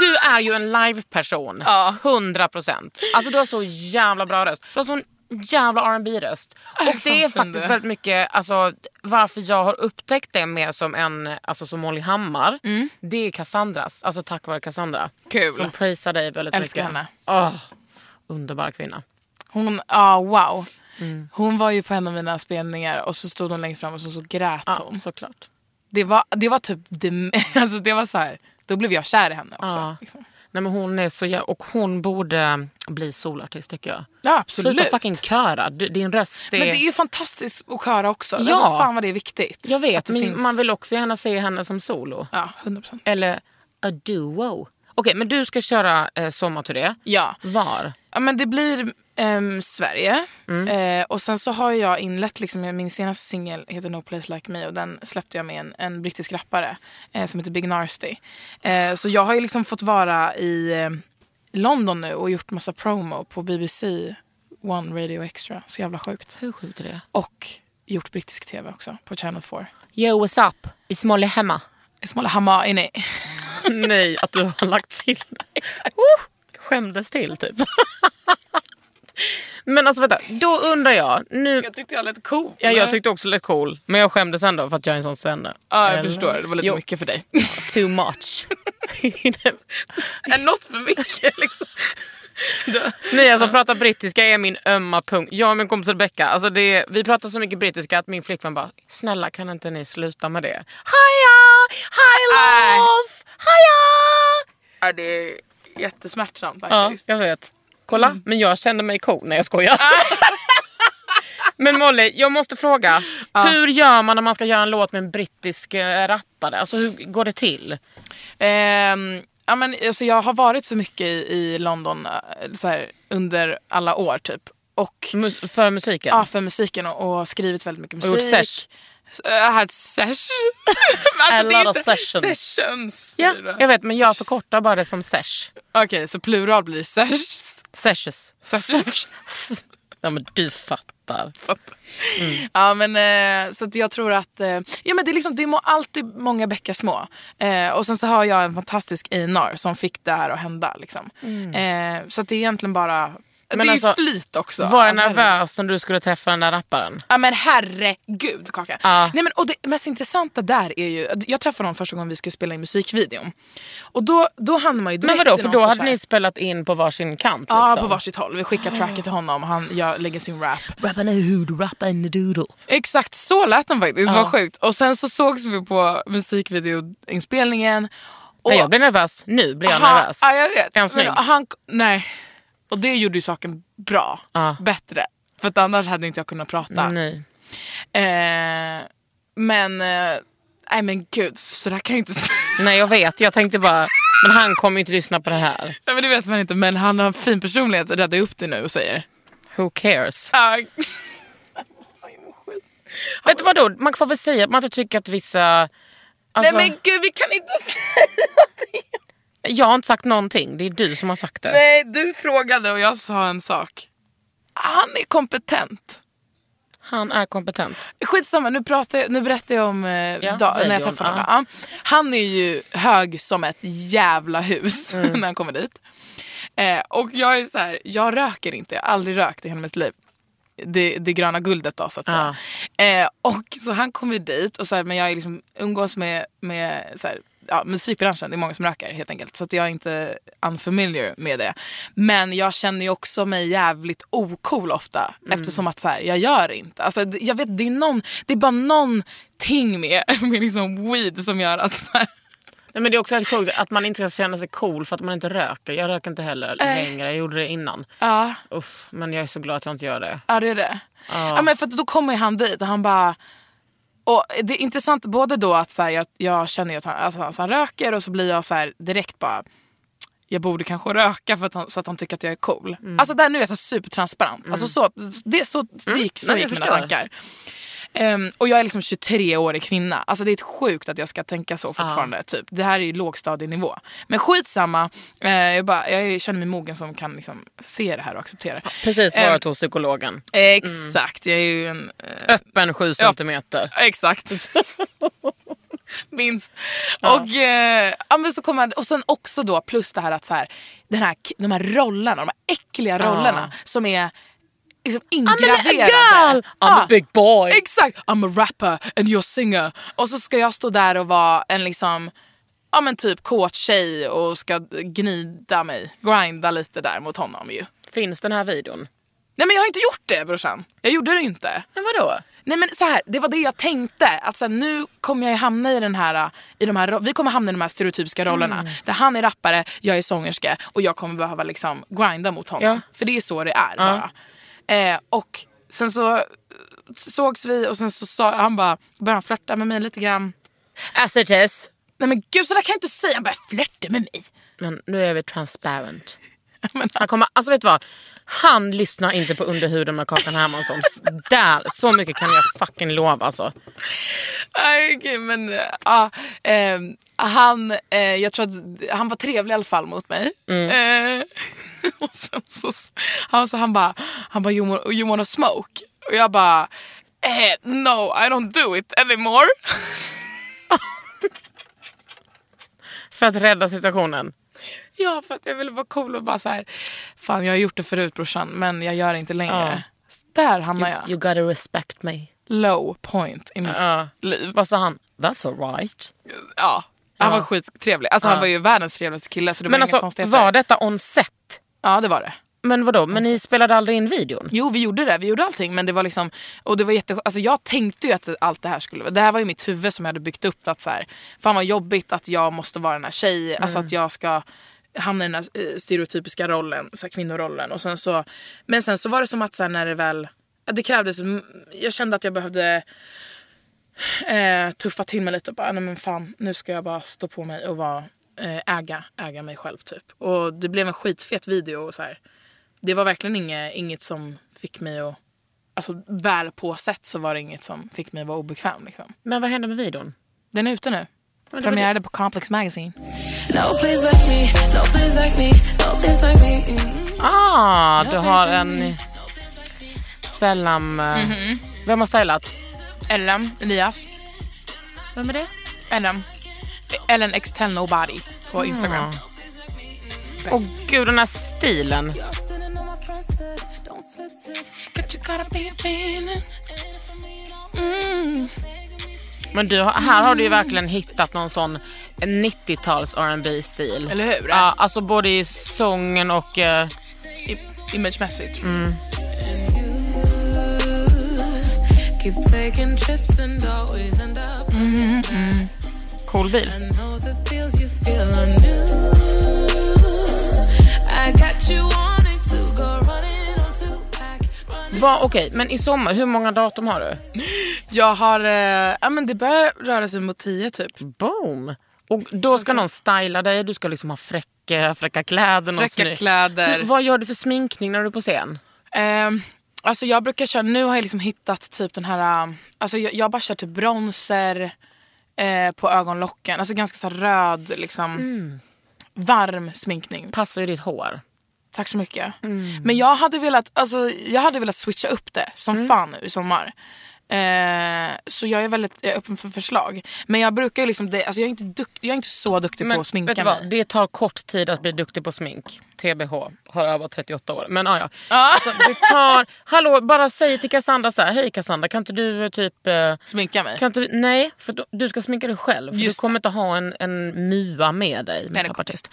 [SPEAKER 3] Du är ju en live-person.
[SPEAKER 2] Ja.
[SPEAKER 3] 100 procent. Alltså du har så jävla bra röst. Du har sån jävla rb röst Och det är
[SPEAKER 2] fan,
[SPEAKER 3] faktiskt
[SPEAKER 2] du.
[SPEAKER 3] väldigt mycket alltså, varför jag har upptäckt det mer som en, alltså som Molly Hammar. Det är Cassandras, alltså tack vare Cassandra.
[SPEAKER 2] Mm. Kul.
[SPEAKER 3] Som prisar dig väldigt
[SPEAKER 2] Älskar
[SPEAKER 3] mycket.
[SPEAKER 2] henne.
[SPEAKER 3] Åh, underbar kvinna.
[SPEAKER 2] Hon, ja wow.
[SPEAKER 3] Mm.
[SPEAKER 2] Hon var ju på en av mina spelningar och så stod hon längst fram och så, så grät
[SPEAKER 3] Ja,
[SPEAKER 2] hon.
[SPEAKER 3] såklart.
[SPEAKER 2] Det var, det var typ det, alltså det var så här, då blev jag kär i henne också.
[SPEAKER 3] Ja.
[SPEAKER 2] Liksom.
[SPEAKER 3] Nej, men hon är så jä- och hon borde bli solartist tycker jag.
[SPEAKER 2] Ja,
[SPEAKER 3] Sluta fucking köra. Du- Din röst är...
[SPEAKER 2] Men det är ju fantastiskt att köra också. Ja.
[SPEAKER 3] Ja.
[SPEAKER 2] Alltså, fan vad det är viktigt.
[SPEAKER 3] jag
[SPEAKER 2] att
[SPEAKER 3] vet,
[SPEAKER 2] det
[SPEAKER 3] men
[SPEAKER 2] finns-
[SPEAKER 3] man vill också gärna se henne som solo.
[SPEAKER 2] Ja, 100 procent.
[SPEAKER 3] Eller a duo. Okej, men du ska köra eh, sommarturné.
[SPEAKER 2] Ja.
[SPEAKER 3] Var?
[SPEAKER 2] ja, men det blir ehm, Sverige. Eh, och sen så har jag inlett, liksom, min senaste singel heter No Place Like Me och den släppte jag med en, en brittisk rappare eh, som heter Big Narsty. Eh, så jag har ju liksom fått vara i eh, London nu och gjort massa promo på BBC One Radio Extra. Så jävla sjukt.
[SPEAKER 3] Hur sjukt är det?
[SPEAKER 2] Och gjort brittisk tv också på Channel 4.
[SPEAKER 3] Yo, what's up? Is Molly hemma?
[SPEAKER 2] Ismail Hamma är nej.
[SPEAKER 3] Nej, att du har lagt till Exakt. Uh! skämdes till, typ. men alltså vänta, då undrar jag. Nu,
[SPEAKER 2] tyckte jag lät cool.
[SPEAKER 3] ja, jag tyckte också det lät cool, men jag skämdes ändå för att jag är en sån svenne.
[SPEAKER 2] Ja, jag
[SPEAKER 3] Eller?
[SPEAKER 2] förstår. Det var lite
[SPEAKER 3] Jo,
[SPEAKER 2] mycket för dig.
[SPEAKER 3] Too much.
[SPEAKER 2] Något för mycket liksom.
[SPEAKER 3] Nej, alltså prata brittiska är min ömma punkt. Jag och min kompis Rebecca, alltså det, vi pratar så mycket brittiska att min flickvän bara, snälla kan inte ni sluta med det? Hiya! High
[SPEAKER 2] Nej.
[SPEAKER 3] love! Hiya!
[SPEAKER 2] Ja, det är jättesmärtsamt
[SPEAKER 3] Ja,
[SPEAKER 2] faktiskt.
[SPEAKER 3] jag vet. Kolla, men jag kände mig cool. när jag skojar. men Molly, jag måste fråga. Hur gör man när man ska göra en låt med en brittisk eh, rappare? Alltså hur går det till?
[SPEAKER 2] Ehm, ja, men, alltså, jag har varit så mycket i, i London eh, så här, under alla år typ. Och
[SPEAKER 3] Mu- för musiken?
[SPEAKER 2] ja, för musiken och, och skrivit väldigt mycket
[SPEAKER 3] Mm. Och gjort
[SPEAKER 2] musik.
[SPEAKER 3] sesh?
[SPEAKER 2] Jag har sesh.
[SPEAKER 3] A
[SPEAKER 2] alltså, det är
[SPEAKER 3] lot of
[SPEAKER 2] inte
[SPEAKER 3] sessions.
[SPEAKER 2] sessions.
[SPEAKER 3] Ja,
[SPEAKER 2] säger du.
[SPEAKER 3] jag vet men jag förkortar bara det som sesh.
[SPEAKER 2] Okej, så plural blir sessions.
[SPEAKER 3] Seshes.
[SPEAKER 2] Sessions.
[SPEAKER 3] Ja men du fattar.
[SPEAKER 2] Fattar. Ja, men, eh, så att jag tror att eh, ja, men det, är liksom, det må alltid många bäckar små. Eh, och sen så har jag en fantastisk A&R som fick det här att hända. Liksom.
[SPEAKER 3] Mm.
[SPEAKER 2] Eh, så att det är egentligen bara... det är
[SPEAKER 3] alltså,
[SPEAKER 2] ju flyt också.
[SPEAKER 3] Var du
[SPEAKER 2] Ja, herregud.
[SPEAKER 3] nervös när du skulle träffa den där rapparen?
[SPEAKER 2] Ja men herregud Kaka.
[SPEAKER 3] Ja.
[SPEAKER 2] Nej, men, och det mest intressanta där är ju, jag träffade honom första gången vi skulle spela in musikvideon. Och då, då hamnar man ju direkt
[SPEAKER 3] Men vadå,
[SPEAKER 2] i
[SPEAKER 3] för
[SPEAKER 2] någon
[SPEAKER 3] då
[SPEAKER 2] sorts
[SPEAKER 3] hade
[SPEAKER 2] här-
[SPEAKER 3] ni spelat in på varsin kant?
[SPEAKER 2] Ja,
[SPEAKER 3] liksom.
[SPEAKER 2] på varsitt håll. Vi skickar tracket till honom och han gör, lägger sin rap.
[SPEAKER 3] Rappin' a hood, rappin' a doodle.
[SPEAKER 2] Exakt så lät den faktiskt, det var sjukt. Och sen så sågs vi på musikvideoinspelningen. Och,
[SPEAKER 3] Nej, jag blir nervös. Nu blir jag
[SPEAKER 2] han,
[SPEAKER 3] nervös.
[SPEAKER 2] Ja, jag vet.
[SPEAKER 3] Är han snygg?
[SPEAKER 2] han, nej. Och det gjorde ju saken bra.
[SPEAKER 3] Ja.
[SPEAKER 2] Bättre. För att annars hade inte jag kunnat prata.
[SPEAKER 3] Nej.
[SPEAKER 2] Eh, men, eh, nej men gud, så där kan jag inte säga.
[SPEAKER 3] Nej jag vet, jag tänkte bara, men han kommer ju inte lyssna på det här.
[SPEAKER 2] Nej men det vet man inte, men han har en fin personlighet, räddar upp det nu och säger.
[SPEAKER 3] Who cares?
[SPEAKER 2] Ah,
[SPEAKER 3] Vet du vadå, man får väl säga att man inte tycker att vissa... Alltså,
[SPEAKER 2] nej men gud, vi kan inte säga det.
[SPEAKER 3] Jag har inte sagt någonting, det är du som har sagt det.
[SPEAKER 2] Nej, du frågade och jag sa en sak. Han är kompetent.
[SPEAKER 3] Han är kompetent.
[SPEAKER 2] Skitsamma, nu, pratar jag, nu berättar jag om eh, dag, när jag
[SPEAKER 3] videon,
[SPEAKER 2] träffade honom. Ja. Han är ju hög som ett jävla hus när han kommer dit. Eh, och jag är så här, jag röker inte, jag har aldrig rökt i hela mitt liv. Det, det gröna guldet då så att säga. Eh, och så han kommer dit och så här, men jag är liksom, umgås med, med så här, ja, musikbranschen, det är många som röker helt enkelt. Så att jag är inte unfamiliar med det. Men jag känner ju också mig jävligt ocool ofta eftersom att så här, jag gör det inte. Alltså, det- jag vet, det, är någon, det är bara någonting med, med liksom weed som gör att så här,
[SPEAKER 3] Nej, men Det är också helt sjukt att man inte ska känna sig cool för att man inte röker. Jag röker inte heller
[SPEAKER 2] Nej.
[SPEAKER 3] längre, jag gjorde det innan.
[SPEAKER 2] ja,
[SPEAKER 3] Uff, men jag är så glad att jag inte gör det.
[SPEAKER 2] Ja det är det. Ja. men för att då kommer han dit och han bara... Och det är intressant både då att så här, jag, jag känner ju att han, alltså, han- han röker och så blir jag så här direkt bara... Jag borde kanske röka för att han, så att han tycker att jag är cool.
[SPEAKER 3] Mm.
[SPEAKER 2] Alltså där nu är jag så supertransparent. Alltså så, det, så, det gick,
[SPEAKER 3] Mm.
[SPEAKER 2] så
[SPEAKER 3] Nej,
[SPEAKER 2] gick
[SPEAKER 3] jag
[SPEAKER 2] mina
[SPEAKER 3] förstår.
[SPEAKER 2] tankar. Ehm, och jag är liksom 23-årig kvinna. Alltså det är sjukt att jag ska tänka så fortfarande. Typ. Det här är ju lågstadienivå. Men skitsamma. Uh, jag, bara, jag känner mig mogen som kan liksom se det här och acceptera det.
[SPEAKER 3] Precis
[SPEAKER 2] Ehm,
[SPEAKER 3] svarat hos psykologen.
[SPEAKER 2] Exakt, jag är ju en... eh,
[SPEAKER 3] Öppen 7 centimeter.
[SPEAKER 2] Exakt. Minst. Och, eh, ja, men så kommer han, och sen också då plus det här att så här, den här, k- de här rollerna, de här äckliga rollerna som är liksom ingraverade.
[SPEAKER 3] girl! I'm a
[SPEAKER 2] Ja.
[SPEAKER 3] big boy.
[SPEAKER 2] Exakt! I'm a rapper and you're a singer. Och så ska jag stå där och vara en liksom Ja men typ kåt tjej och ska gnida mig, grinda lite där mot honom ju.
[SPEAKER 3] Finns den här videon?
[SPEAKER 2] Nej men jag har inte gjort det brorsan, jag gjorde det inte.
[SPEAKER 3] Men vadå?
[SPEAKER 2] Nej men så här, det var det jag tänkte. Att så här, nu kommer jag ju hamna i den här, i de här, ro- vi kommer hamna i de här stereotypiska
[SPEAKER 3] Mm.
[SPEAKER 2] rollerna. Där han är rappare, jag är sångerska och jag kommer behöva liksom grinda mot honom.
[SPEAKER 3] Ja.
[SPEAKER 2] För det är så det är bara. Eh, och sen så eh, sågs vi och sen så sa han bara, började han flörta med mig lite grann.
[SPEAKER 3] As it is.
[SPEAKER 2] Nej men gud så där kan jag inte säga, han började flörta med mig.
[SPEAKER 3] Men nu är vi transparent.
[SPEAKER 2] Men-
[SPEAKER 3] Han kommer, alltså vet du vad? Han lyssnar inte på Underhuden med Kakan Hermansson. S- Där, så mycket kan jag fucking lova alltså.
[SPEAKER 2] Nej, okej, men eh, ja. eh, han, eh, jag tror att han var trevlig i alla fall mot mig.
[SPEAKER 3] Mm.
[SPEAKER 2] Eh, och sen så, han, så han bara, han bara you, want, you wanna smoke? Och jag bara, eh, no I don't do it anymore.
[SPEAKER 3] För att rädda situationen.
[SPEAKER 2] ja, för att jag ville vara cool och bara så här, fan jag har gjort det förut brorsan men jag gör det inte längre. Så Där hamnar jag.
[SPEAKER 3] You gotta respect me.
[SPEAKER 2] Low point i mitt
[SPEAKER 3] Ja.
[SPEAKER 2] liv.
[SPEAKER 3] Vad sa han? That's alright.
[SPEAKER 2] Ja. Han var skittrevlig. Alltså, Han var ju världens trevligaste kille så det
[SPEAKER 3] Men
[SPEAKER 2] var inga
[SPEAKER 3] alltså
[SPEAKER 2] konstigheter.
[SPEAKER 3] var detta on set?
[SPEAKER 2] Ja det var det.
[SPEAKER 3] Men vadå, men ni spelade aldrig in videon?
[SPEAKER 2] Jo, vi gjorde det. Vi gjorde allting. Men det var liksom, och det var jätte, alltså jag tänkte ju att allt det här skulle... Det här var ju mitt huvud som jag hade byggt upp. Att så här, fan vad jobbigt att jag måste vara den här tjejen. Alltså att jag ska hamna i den här eh, stereotypiska rollen, så här kvinnorollen. Och sen så, men sen så var det som att så här, när det väl... att Det krävdes... Jag kände att jag behövde eh, tuffa till mig lite och bara, nej men fan, nu ska jag bara stå på mig och vara, eh, äga, äga mig själv typ. Och det blev en skitfet video och så här. Det var verkligen inget, inget som fick mig att, alltså väl påsett så var det inget som fick mig att vara obekväm liksom.
[SPEAKER 3] Men vad hände med videon?
[SPEAKER 2] Den är ute nu. Premiärade på Complex Magazine.
[SPEAKER 4] No place like me, no place like me, no place like me. Mm.
[SPEAKER 3] Ah, du har en Selam... eh,
[SPEAKER 2] Mhm.
[SPEAKER 3] Vem har stylat?
[SPEAKER 2] Ellen Elias.
[SPEAKER 3] Vem är det?
[SPEAKER 2] Ellen. Ellen Extell Nobody
[SPEAKER 3] Mm.
[SPEAKER 2] på Instagram.
[SPEAKER 3] Åh gud, den här stilen.
[SPEAKER 4] Sitting on my front step, don't slip slip. But you gotta be a Venus. And for me, don't
[SPEAKER 3] Men du, har- här har du ju verkligen hittat någon sån 90-tals rb stil
[SPEAKER 2] Eller hur?
[SPEAKER 3] Ja, alltså både i sången och... eh,
[SPEAKER 2] I, imagemässigt.
[SPEAKER 4] keep taking trips and always end up.
[SPEAKER 3] Cool bil.
[SPEAKER 4] I know the feels you feel are new. I got you wanting to go running on two pack. Running.
[SPEAKER 3] Va, Okej, men i sommar, hur många datum har du?
[SPEAKER 2] Jag har, eh, ja men det börjar röra sig mot tio typ.
[SPEAKER 3] Boom! Och då ska någon styla dig, du ska liksom ha fräcka, fräcka kläder. någon
[SPEAKER 2] Fräcka
[SPEAKER 3] snygg-
[SPEAKER 2] kläder.
[SPEAKER 3] Men Vad gör du för sminkning när du är på scen? Mm.
[SPEAKER 2] Ehm, alltså jag brukar köra, nu har jag liksom hittat typ den här, ähm, alltså jag, jag bara kör typ bronzer eh, på ögonlocken. Alltså ganska så här röd, liksom
[SPEAKER 3] Mm.
[SPEAKER 2] varm sminkning.
[SPEAKER 3] Passar ju ditt hår.
[SPEAKER 2] Tack så mycket.
[SPEAKER 3] Mm.
[SPEAKER 2] Men jag hade, velat, alltså, jag hade velat switcha upp det som
[SPEAKER 3] Mm.
[SPEAKER 2] fan nu i sommar. Eh, så jag är väldigt jag är öppen för förslag. Men jag brukar ju liksom, det, alltså jag, är inte dukt, jag är inte så duktig på att sminka
[SPEAKER 3] vet du
[SPEAKER 2] mig.
[SPEAKER 3] vad? Det tar kort tid att bli duktig på smink. TBH, har övat 38 år. Men ah, ja.
[SPEAKER 2] Ah.
[SPEAKER 3] Alltså, det tar... Hallå, bara säg till Cassandra så här. Hej Cassandra, kan inte du eh, typ... eh,
[SPEAKER 2] Sminka mig.
[SPEAKER 3] Kan inte, nej, för då- du ska sminka dig själv. För
[SPEAKER 2] Just
[SPEAKER 3] du kommer inte ha en, en mua med dig. Med
[SPEAKER 2] Nej, det kommer
[SPEAKER 3] artist.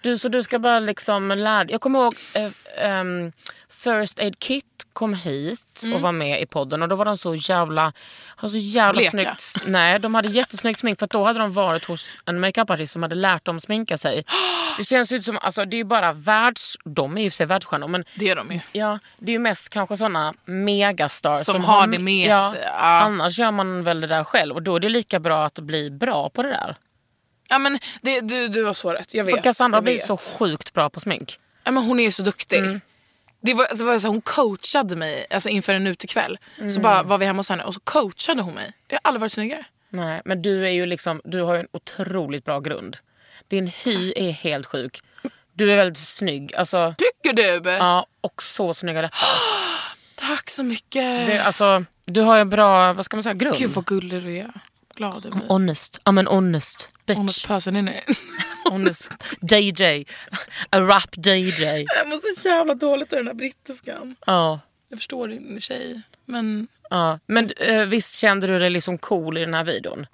[SPEAKER 3] Du, så du ska bara liksom lära dig. Jag kommer ihåg eh, ehm, First Aid Kit kom hit
[SPEAKER 2] Mm.
[SPEAKER 3] och var med i podden och då var de så jävla... Har så jävla
[SPEAKER 2] Bleka.
[SPEAKER 3] snyggt, nej, de hade jättesnyggt smink för att då hade de varit hos en makeupartist som hade lärt dem sminka sig. Det känns ju som, alltså det är ju bara världs... De är ju i och för sig världsstjärnor men
[SPEAKER 2] Det är de ju.
[SPEAKER 3] Ja, det är ju mest kanske såna megastars
[SPEAKER 2] Som har det med
[SPEAKER 3] ja,
[SPEAKER 2] sig, ja.
[SPEAKER 3] Annars gör man väl det där själv och då är det lika bra att bli bra på det där.
[SPEAKER 2] Ja, men det, du, du har så rätt, jag vet.
[SPEAKER 3] För Cassandra
[SPEAKER 2] jag
[SPEAKER 3] blir
[SPEAKER 2] vet.
[SPEAKER 3] så sjukt bra på smink.
[SPEAKER 2] Ja, men hon är ju så duktig. Det var, alltså, var så, hon coachade mig alltså, inför en utekväll. Så bara var vi hemma hos henne och så coachade hon mig. Jag har aldrig varit snyggare.
[SPEAKER 3] Nej, men du är ju liksom, du har ju en otroligt bra grund. Din hy är helt sjuk. Du är väldigt snygg. Alltså,
[SPEAKER 2] Tycker du?
[SPEAKER 3] ja, och så snygga läppar.
[SPEAKER 2] Tack så mycket.
[SPEAKER 3] Det, alltså, du har ju en bra, vad ska man säga, grund.
[SPEAKER 2] Gud vad gullig du är. Glad du blir.
[SPEAKER 3] Honest. Ja men honest. Bitch.
[SPEAKER 2] Honest person in it.
[SPEAKER 3] honest. DJ. A rap DJ.
[SPEAKER 2] Jag mår så jävla dåligt av den här brittiskan.
[SPEAKER 3] Ja.
[SPEAKER 2] Jag förstår din tjej. Men
[SPEAKER 3] Ja, men eh, visst kände du dig liksom cool i den här videon?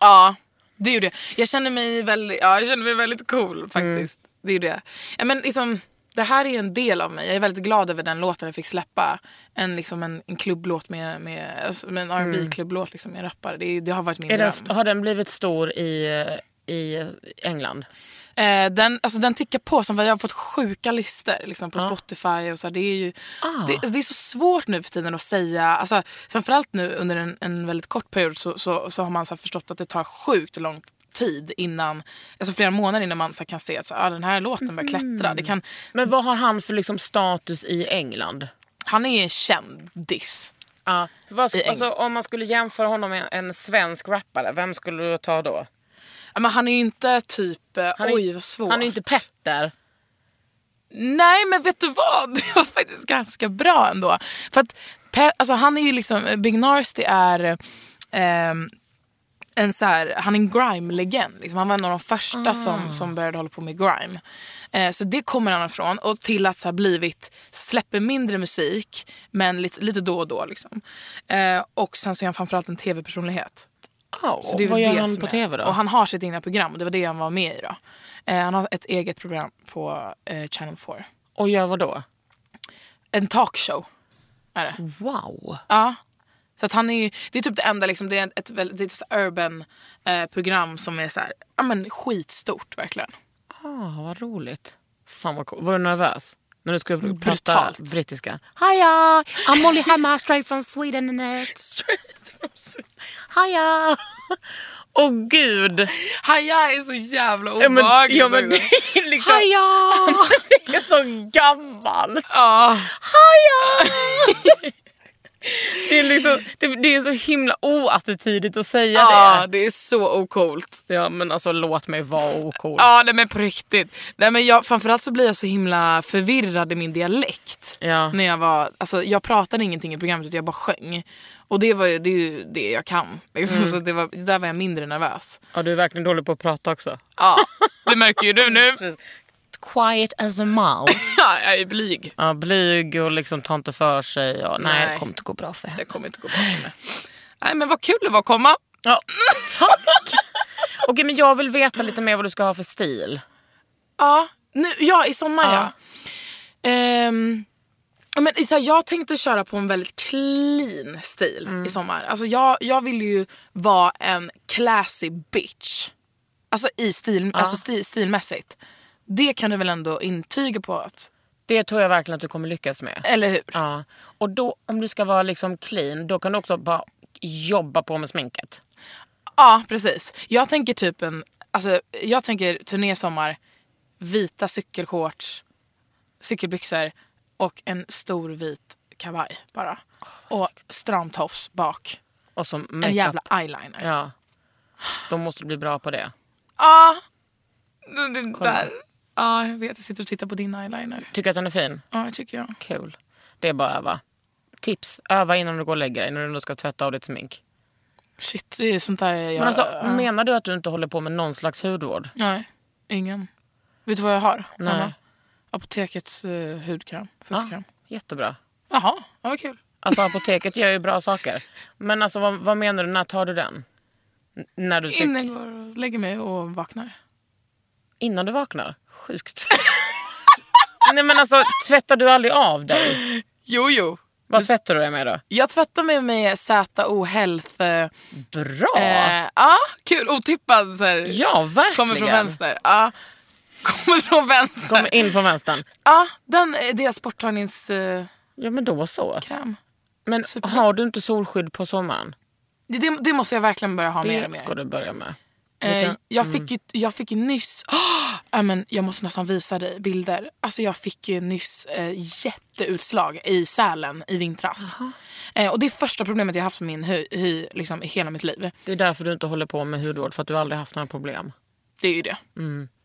[SPEAKER 2] Ja, det är ju det. Jag känner mig väldigt, ja, jag känner mig väldigt cool faktiskt. Det är ju det. Ja, men liksom, det här är ju en del av mig. Jag är väldigt glad över den låten jag fick släppa. En, liksom en, en klubblåt med, med, alltså, med en rb klubblåt liksom, med rappare. Det, är, ju- det har varit min
[SPEAKER 3] Är
[SPEAKER 2] dröm.
[SPEAKER 3] den, har den blivit stor i, eh, i England?
[SPEAKER 2] Eh, den, alltså, den tickar på. Som, jag har fått sjuka listor liksom, på Spotify. Och så, här. det, är ju,
[SPEAKER 3] Ah.
[SPEAKER 2] det, alltså, det är så svårt nu för tiden att säga. Alltså, framförallt nu under en, en väldigt kort period så, så, så har man så här, förstått att det tar sjukt lång tid innan, alltså flera månader innan man så här, kan se att så, här, ah, den här låten börjar
[SPEAKER 3] Mm.
[SPEAKER 2] klättra. Det kan,
[SPEAKER 3] Men vad har han för liksom status i England?
[SPEAKER 2] han är en kändis.
[SPEAKER 3] Ja, vad,
[SPEAKER 2] I Eng-
[SPEAKER 3] alltså, om man skulle jämföra honom med en svensk rappare, vem skulle du ta då?
[SPEAKER 2] Ja, Men han är ju inte typ, eh,
[SPEAKER 3] Han är-
[SPEAKER 2] oj vad svårt.
[SPEAKER 3] Han är ju inte Petter.
[SPEAKER 2] Nej, men vet du vad? Det var faktiskt ganska bra ändå. För att Pe- alltså, han är ju liksom, Big Narsty är ehm, en så här, han är en grime-legend. Liksom. Han var en av de första
[SPEAKER 3] Ah.
[SPEAKER 2] som, som började hålla på med grime. Eh, så det kommer han ifrån. Och till att så här, blivit, släpper mindre musik, men lite, lite då och då. Liksom. Eh, och sen så är han framförallt en tv-personlighet.
[SPEAKER 3] Ja,
[SPEAKER 2] Så det är
[SPEAKER 3] vad
[SPEAKER 2] väl
[SPEAKER 3] gör
[SPEAKER 2] det
[SPEAKER 3] han
[SPEAKER 2] som
[SPEAKER 3] på
[SPEAKER 2] är.
[SPEAKER 3] tv då?
[SPEAKER 2] Och han har sitt egna program och det var det han var med i då. Eh, han har ett eget program på eh, Channel 4.
[SPEAKER 3] Och gör vad då?
[SPEAKER 2] En talkshow är det.
[SPEAKER 3] Wow.
[SPEAKER 2] Ja. Så att han är ju, det är typ det enda, liksom, det är ett, väl- det är ett så här urban eh, program som är så här, ja men skitstort verkligen.
[SPEAKER 3] Ah, vad roligt. Fan vad coolt. Var du nervös? När du skulle prata
[SPEAKER 2] Brutalt.
[SPEAKER 3] brittiska? Hiya! I'm Molly Hammar straight from Sweden and it.
[SPEAKER 2] Straight from Sweden.
[SPEAKER 3] Hiya! Åh gud!
[SPEAKER 2] Haja är så jävla
[SPEAKER 3] Ja, men,
[SPEAKER 2] obehaglig.
[SPEAKER 3] ja, men det är liksom... Hiya! Det är så gammalt.
[SPEAKER 2] Ja.
[SPEAKER 3] Hiya! det, är liksom, det, det är så himla oattitydigt att säga
[SPEAKER 2] ja, det är så ocoolt.
[SPEAKER 3] det. Ja, men alltså låt mig vara ocool.
[SPEAKER 2] Ja, nej men på riktigt. Nej, men jag, framförallt så blir jag så himla förvirrad i min dialekt.
[SPEAKER 3] Ja.
[SPEAKER 2] När jag, var, alltså, jag pratade ingenting i programmet utan jag bara sjöng. Och det, var ju, det är ju det jag kan. Liksom. Så att det var, där var jag mindre nervös.
[SPEAKER 3] Ja, du är verkligen dålig på att prata också.
[SPEAKER 2] Ja, det märker ju du nu.
[SPEAKER 3] Quiet as a mouse.
[SPEAKER 2] Ja, jag är blyg.
[SPEAKER 3] Ja, blyg och liksom tar inte för sig. Och, nej,
[SPEAKER 2] Nej.
[SPEAKER 3] det kommer inte gå bra för henne.
[SPEAKER 2] Det kommer inte gå bra för mig. Nej men vad kul det var att komma.
[SPEAKER 3] Ja, tack! Okej, men jag vill veta lite mer vad du ska ha för stil.
[SPEAKER 2] Ja, nu, ja i sommar ja. Ehm, ja, men, så här, jag tänkte köra på en väldigt clean stil i sommar. Alltså, jag, jag vill ju vara en classy bitch. Alltså, i stil, alltså sti, stilmässigt. Det kan du väl ändå intyga på? Att,
[SPEAKER 3] Det tror jag verkligen att du kommer lyckas med.
[SPEAKER 2] eller hur?
[SPEAKER 3] Ja. Och då, om du ska vara liksom clean, då kan du också bara jobba på med sminket.
[SPEAKER 2] Ja, precis. Jag tänker typ en... Alltså, jag tänker turné i sommar, vita cykelshorts, cykelbyxor och en stor vit kavaj bara. och stram tofs bak.
[SPEAKER 3] Och så
[SPEAKER 2] En
[SPEAKER 3] makeup.
[SPEAKER 2] jävla eyeliner. Ja,
[SPEAKER 3] Ja. Då måste du bli bra på det.
[SPEAKER 2] det, det där. Ja, jag vet. Jag sitter och tittar på din eyeliner.
[SPEAKER 3] Tycker att den är fin?
[SPEAKER 2] Ja, det tycker jag.
[SPEAKER 3] Kul. Det är bara att öva. Tips. Öva innan du går och lägger dig, när du ändå ska tvätta av ditt smink.
[SPEAKER 2] Shit, det är sånt där jag...
[SPEAKER 3] Men alltså,
[SPEAKER 2] ja.
[SPEAKER 3] menar du att du inte håller på med någon slags hudvård?
[SPEAKER 2] Nej, ingen. Vet du vad jag har?
[SPEAKER 3] Nej. Ah.
[SPEAKER 2] Anna? Apotekets eh, hudkräm. Fuktkräm.
[SPEAKER 3] Jättebra.
[SPEAKER 2] Jaha, ja, vad kul.
[SPEAKER 3] Alltså apoteket gör ju bra saker. Men alltså vad, vad menar du, när tar du den? N- när du typ- tycker-
[SPEAKER 2] Innan jag går och lägger mig och vaknar.
[SPEAKER 3] Innan du vaknar? Sjukt. Nej men alltså tvättar du aldrig av dig?
[SPEAKER 2] Jo, jo.
[SPEAKER 3] Vad tvättar du dig med då?
[SPEAKER 2] Jag tvättar mig med ZO Health. eh,
[SPEAKER 3] Bra!
[SPEAKER 2] Eh, ja, kul. Otippad. Så här.
[SPEAKER 3] ja verkligen.
[SPEAKER 2] Kommer från vänster. Ja. Kommer från vänster.
[SPEAKER 3] Kommer in från vänstern.
[SPEAKER 2] Ja, den, eh, deras sporttagningskräm.
[SPEAKER 3] Ja men då så. Men har du inte solskydd på sommaren?
[SPEAKER 2] Det, det, det måste jag verkligen börja ha mer och
[SPEAKER 3] Det ska
[SPEAKER 2] mer.
[SPEAKER 3] du börja med.
[SPEAKER 2] Eh, jag, fick ju, jag fick ju nyss... Ah, men jag måste nästan visa dig bilder. Alltså jag fick ju nyss eh, jätteutslag i Sälen i vintras. Eh, och Det är första problemet jag haft med min hy, hy liksom, i hela mitt liv.
[SPEAKER 3] Det är därför du inte håller på med hudvård, för att du aldrig haft några problem.
[SPEAKER 2] Det är ju det.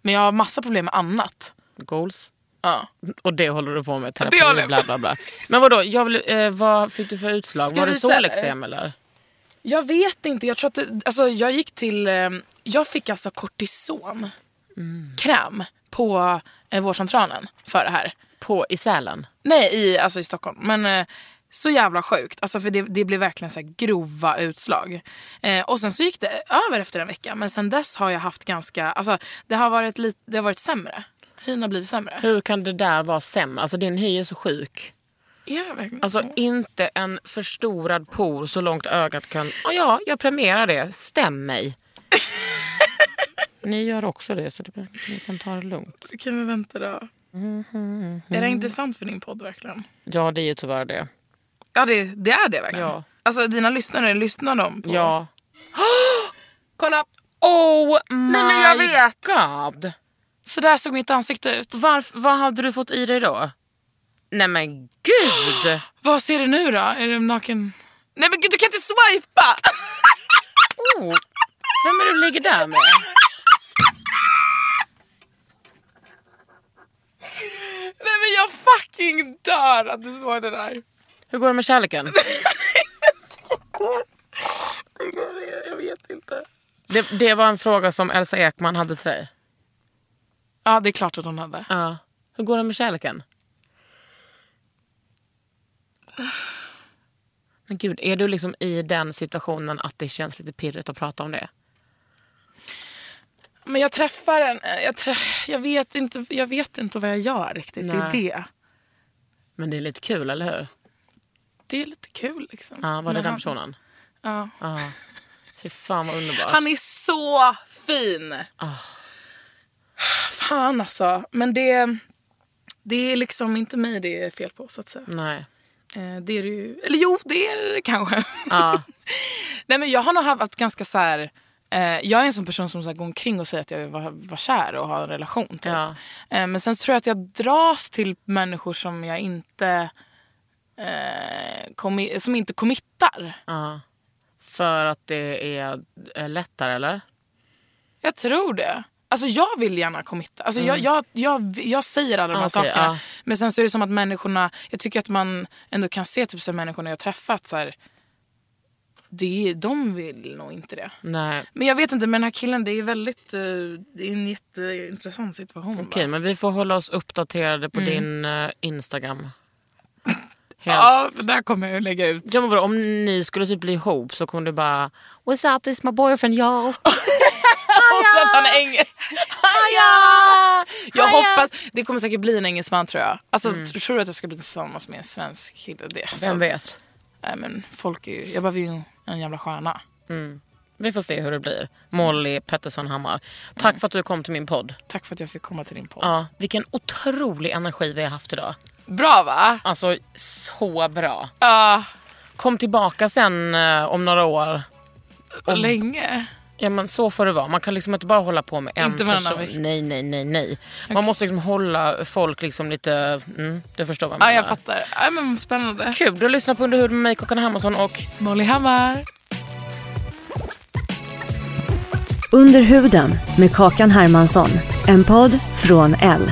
[SPEAKER 2] Men jag har massa problem med annat.
[SPEAKER 3] Goals.
[SPEAKER 2] Ja.
[SPEAKER 3] Och det håller du på med, terapi,
[SPEAKER 2] Det håller jag på
[SPEAKER 3] bla bla bla. Men vadå, jag vill, eh, vad fick du för utslag?
[SPEAKER 2] Ska
[SPEAKER 3] var
[SPEAKER 2] jag
[SPEAKER 3] det
[SPEAKER 2] visa,
[SPEAKER 3] solexem eller?
[SPEAKER 2] Jag vet inte. Jag tror att det, alltså, jag gick till... Eh, jag fick alltså kortison. Mm. Kräm på eh, vårdcentralen för det här.
[SPEAKER 3] På, I Sälen?
[SPEAKER 2] Nej, i, alltså i Stockholm. Men eh, så jävla sjukt. Alltså, för det, det blev verkligen så här grova utslag. Eh, och sen så gick det över efter en vecka. Men sen dess har jag haft ganska... Alltså, det, har varit lite, det har varit sämre. Hyn har blivit sämre.
[SPEAKER 3] Hur kan det där vara sämre? Alltså din hy är så sjuk.
[SPEAKER 2] Är jag verkligen
[SPEAKER 3] Alltså
[SPEAKER 2] så?
[SPEAKER 3] inte en förstorad por så långt ögat kan... Ja, ja, jag premierar det. Stäm mig. Ni gör också det, så det, ni kan ta det lugnt.
[SPEAKER 2] Kan vi vänta då?
[SPEAKER 3] Mm-hmm.
[SPEAKER 2] Är det intressant för din podd verkligen?
[SPEAKER 3] Ja, det är ju tyvärr det.
[SPEAKER 2] Ja, det, det är det verkligen.
[SPEAKER 3] Ja.
[SPEAKER 2] Alltså dina lyssnare, lyssnar de på?
[SPEAKER 3] Ja.
[SPEAKER 2] Kolla!
[SPEAKER 3] Oh my
[SPEAKER 2] Nej men jag vet!
[SPEAKER 3] god!
[SPEAKER 2] Så där såg mitt ansikte ut.
[SPEAKER 3] Varf, vad hade du fått i dig då? Nej men gud!
[SPEAKER 2] Vad ser du nu då? Är du naken? Nej men gud du kan inte swipa!
[SPEAKER 3] Oh, vem är det du ligger där med?
[SPEAKER 2] Nej men jag fucking dör att du såg det där.
[SPEAKER 3] Hur går det med kärleken?
[SPEAKER 2] Jag vet inte.
[SPEAKER 3] Det, det var en fråga som Elsa Ekman hade till dig.
[SPEAKER 2] Ja det är klart att hon hade.
[SPEAKER 3] Ja. Hur går det med kärleken? Men gud, är du liksom i den situationen att det känns lite pirrigt att prata om det?
[SPEAKER 2] Men jag träffar en... eh, Jag, trä, jag, vet, inte, jag vet inte vad jag gör riktigt. Det är
[SPEAKER 3] Nej.
[SPEAKER 2] det.
[SPEAKER 3] Men det är lite kul, eller hur?
[SPEAKER 2] Det är lite kul liksom.
[SPEAKER 3] Ja, var det
[SPEAKER 2] Men
[SPEAKER 3] den
[SPEAKER 2] han-
[SPEAKER 3] personen?
[SPEAKER 2] Ja.
[SPEAKER 3] Ja. Fy fan vad underbart.
[SPEAKER 2] Han är så fin!
[SPEAKER 3] Ah.
[SPEAKER 2] Fan alltså. Men det, det är liksom inte mig det är fel på så att säga.
[SPEAKER 3] Nej.
[SPEAKER 2] Eh, Det är det ju, eller jo, det är det kanske.
[SPEAKER 3] Ja.
[SPEAKER 2] Nej, men jag har nog haft ganska så här... Eh, jag är en sån person som så här, går omkring och säger att jag var, var kär och har en relation. Typ.
[SPEAKER 3] Ja.
[SPEAKER 2] Eh, men sen så tror jag att jag dras till människor som jag inte... Eh, commi- som inte committar.
[SPEAKER 3] Ja. För att det är eh, lättare, eller?
[SPEAKER 2] Jag tror det. Alltså jag vill gärna committa. Alltså jag, jag, jag, jag säger alla de här
[SPEAKER 3] Mm. Ah, okej,
[SPEAKER 2] sakerna.
[SPEAKER 3] ah.
[SPEAKER 2] Men sen så är det som att människorna, jag tycker att man ändå kan se typ så här, människorna jag träffat så här, det, de vill nog inte det.
[SPEAKER 3] Nej.
[SPEAKER 2] Men jag vet inte, men den här killen, det är väldigt, eh, det är en jätteintressant situation. va?
[SPEAKER 3] Okej, men vi får hålla oss uppdaterade på din eh, Instagram. Helt.
[SPEAKER 2] Ja, det där kommer jag lägga ut.
[SPEAKER 3] Ja, men vadå, om ni skulle typ bli ihop så kommer du bara What's up, this is my boyfriend y'all.
[SPEAKER 2] Också att han är engelsk. Haja! Jag hoppas, det kommer säkert bli en engelsman tror jag. Alltså, Tror du att jag ska bli tillsammans med en svensk kille? Det, är så-
[SPEAKER 3] Mm. Vem vet?
[SPEAKER 2] Nej, men folk är ju, jag behöver ju en jävla stjärna.
[SPEAKER 3] Vi får se hur det blir. Molly Pettersson Hammar. Tack för att du kom till min podd.
[SPEAKER 2] Tack för att jag fick komma till din podd.
[SPEAKER 3] Ja, vilken otrolig energi vi har haft idag.
[SPEAKER 2] Bra va?
[SPEAKER 3] Alltså så bra.
[SPEAKER 2] Ja,
[SPEAKER 3] Kom tillbaka sen eh, om några år.
[SPEAKER 2] och länge.
[SPEAKER 3] Ja men så får det vara. Man kan liksom inte bara hålla på med en
[SPEAKER 2] Inte varannan
[SPEAKER 3] person.
[SPEAKER 2] vecka.
[SPEAKER 3] Nej, nej, nej, nej. Man måste liksom hålla folk liksom lite... Mm, du förstår vad jag
[SPEAKER 2] Ja,
[SPEAKER 3] menar.
[SPEAKER 2] jag fattar. Ja, men spännande.
[SPEAKER 3] Kul, du lyssnar på Under huden med mig, Kakan Hermansson och
[SPEAKER 2] Molly Hammar.
[SPEAKER 1] Under huden med Kakan Hermansson. En podd från L.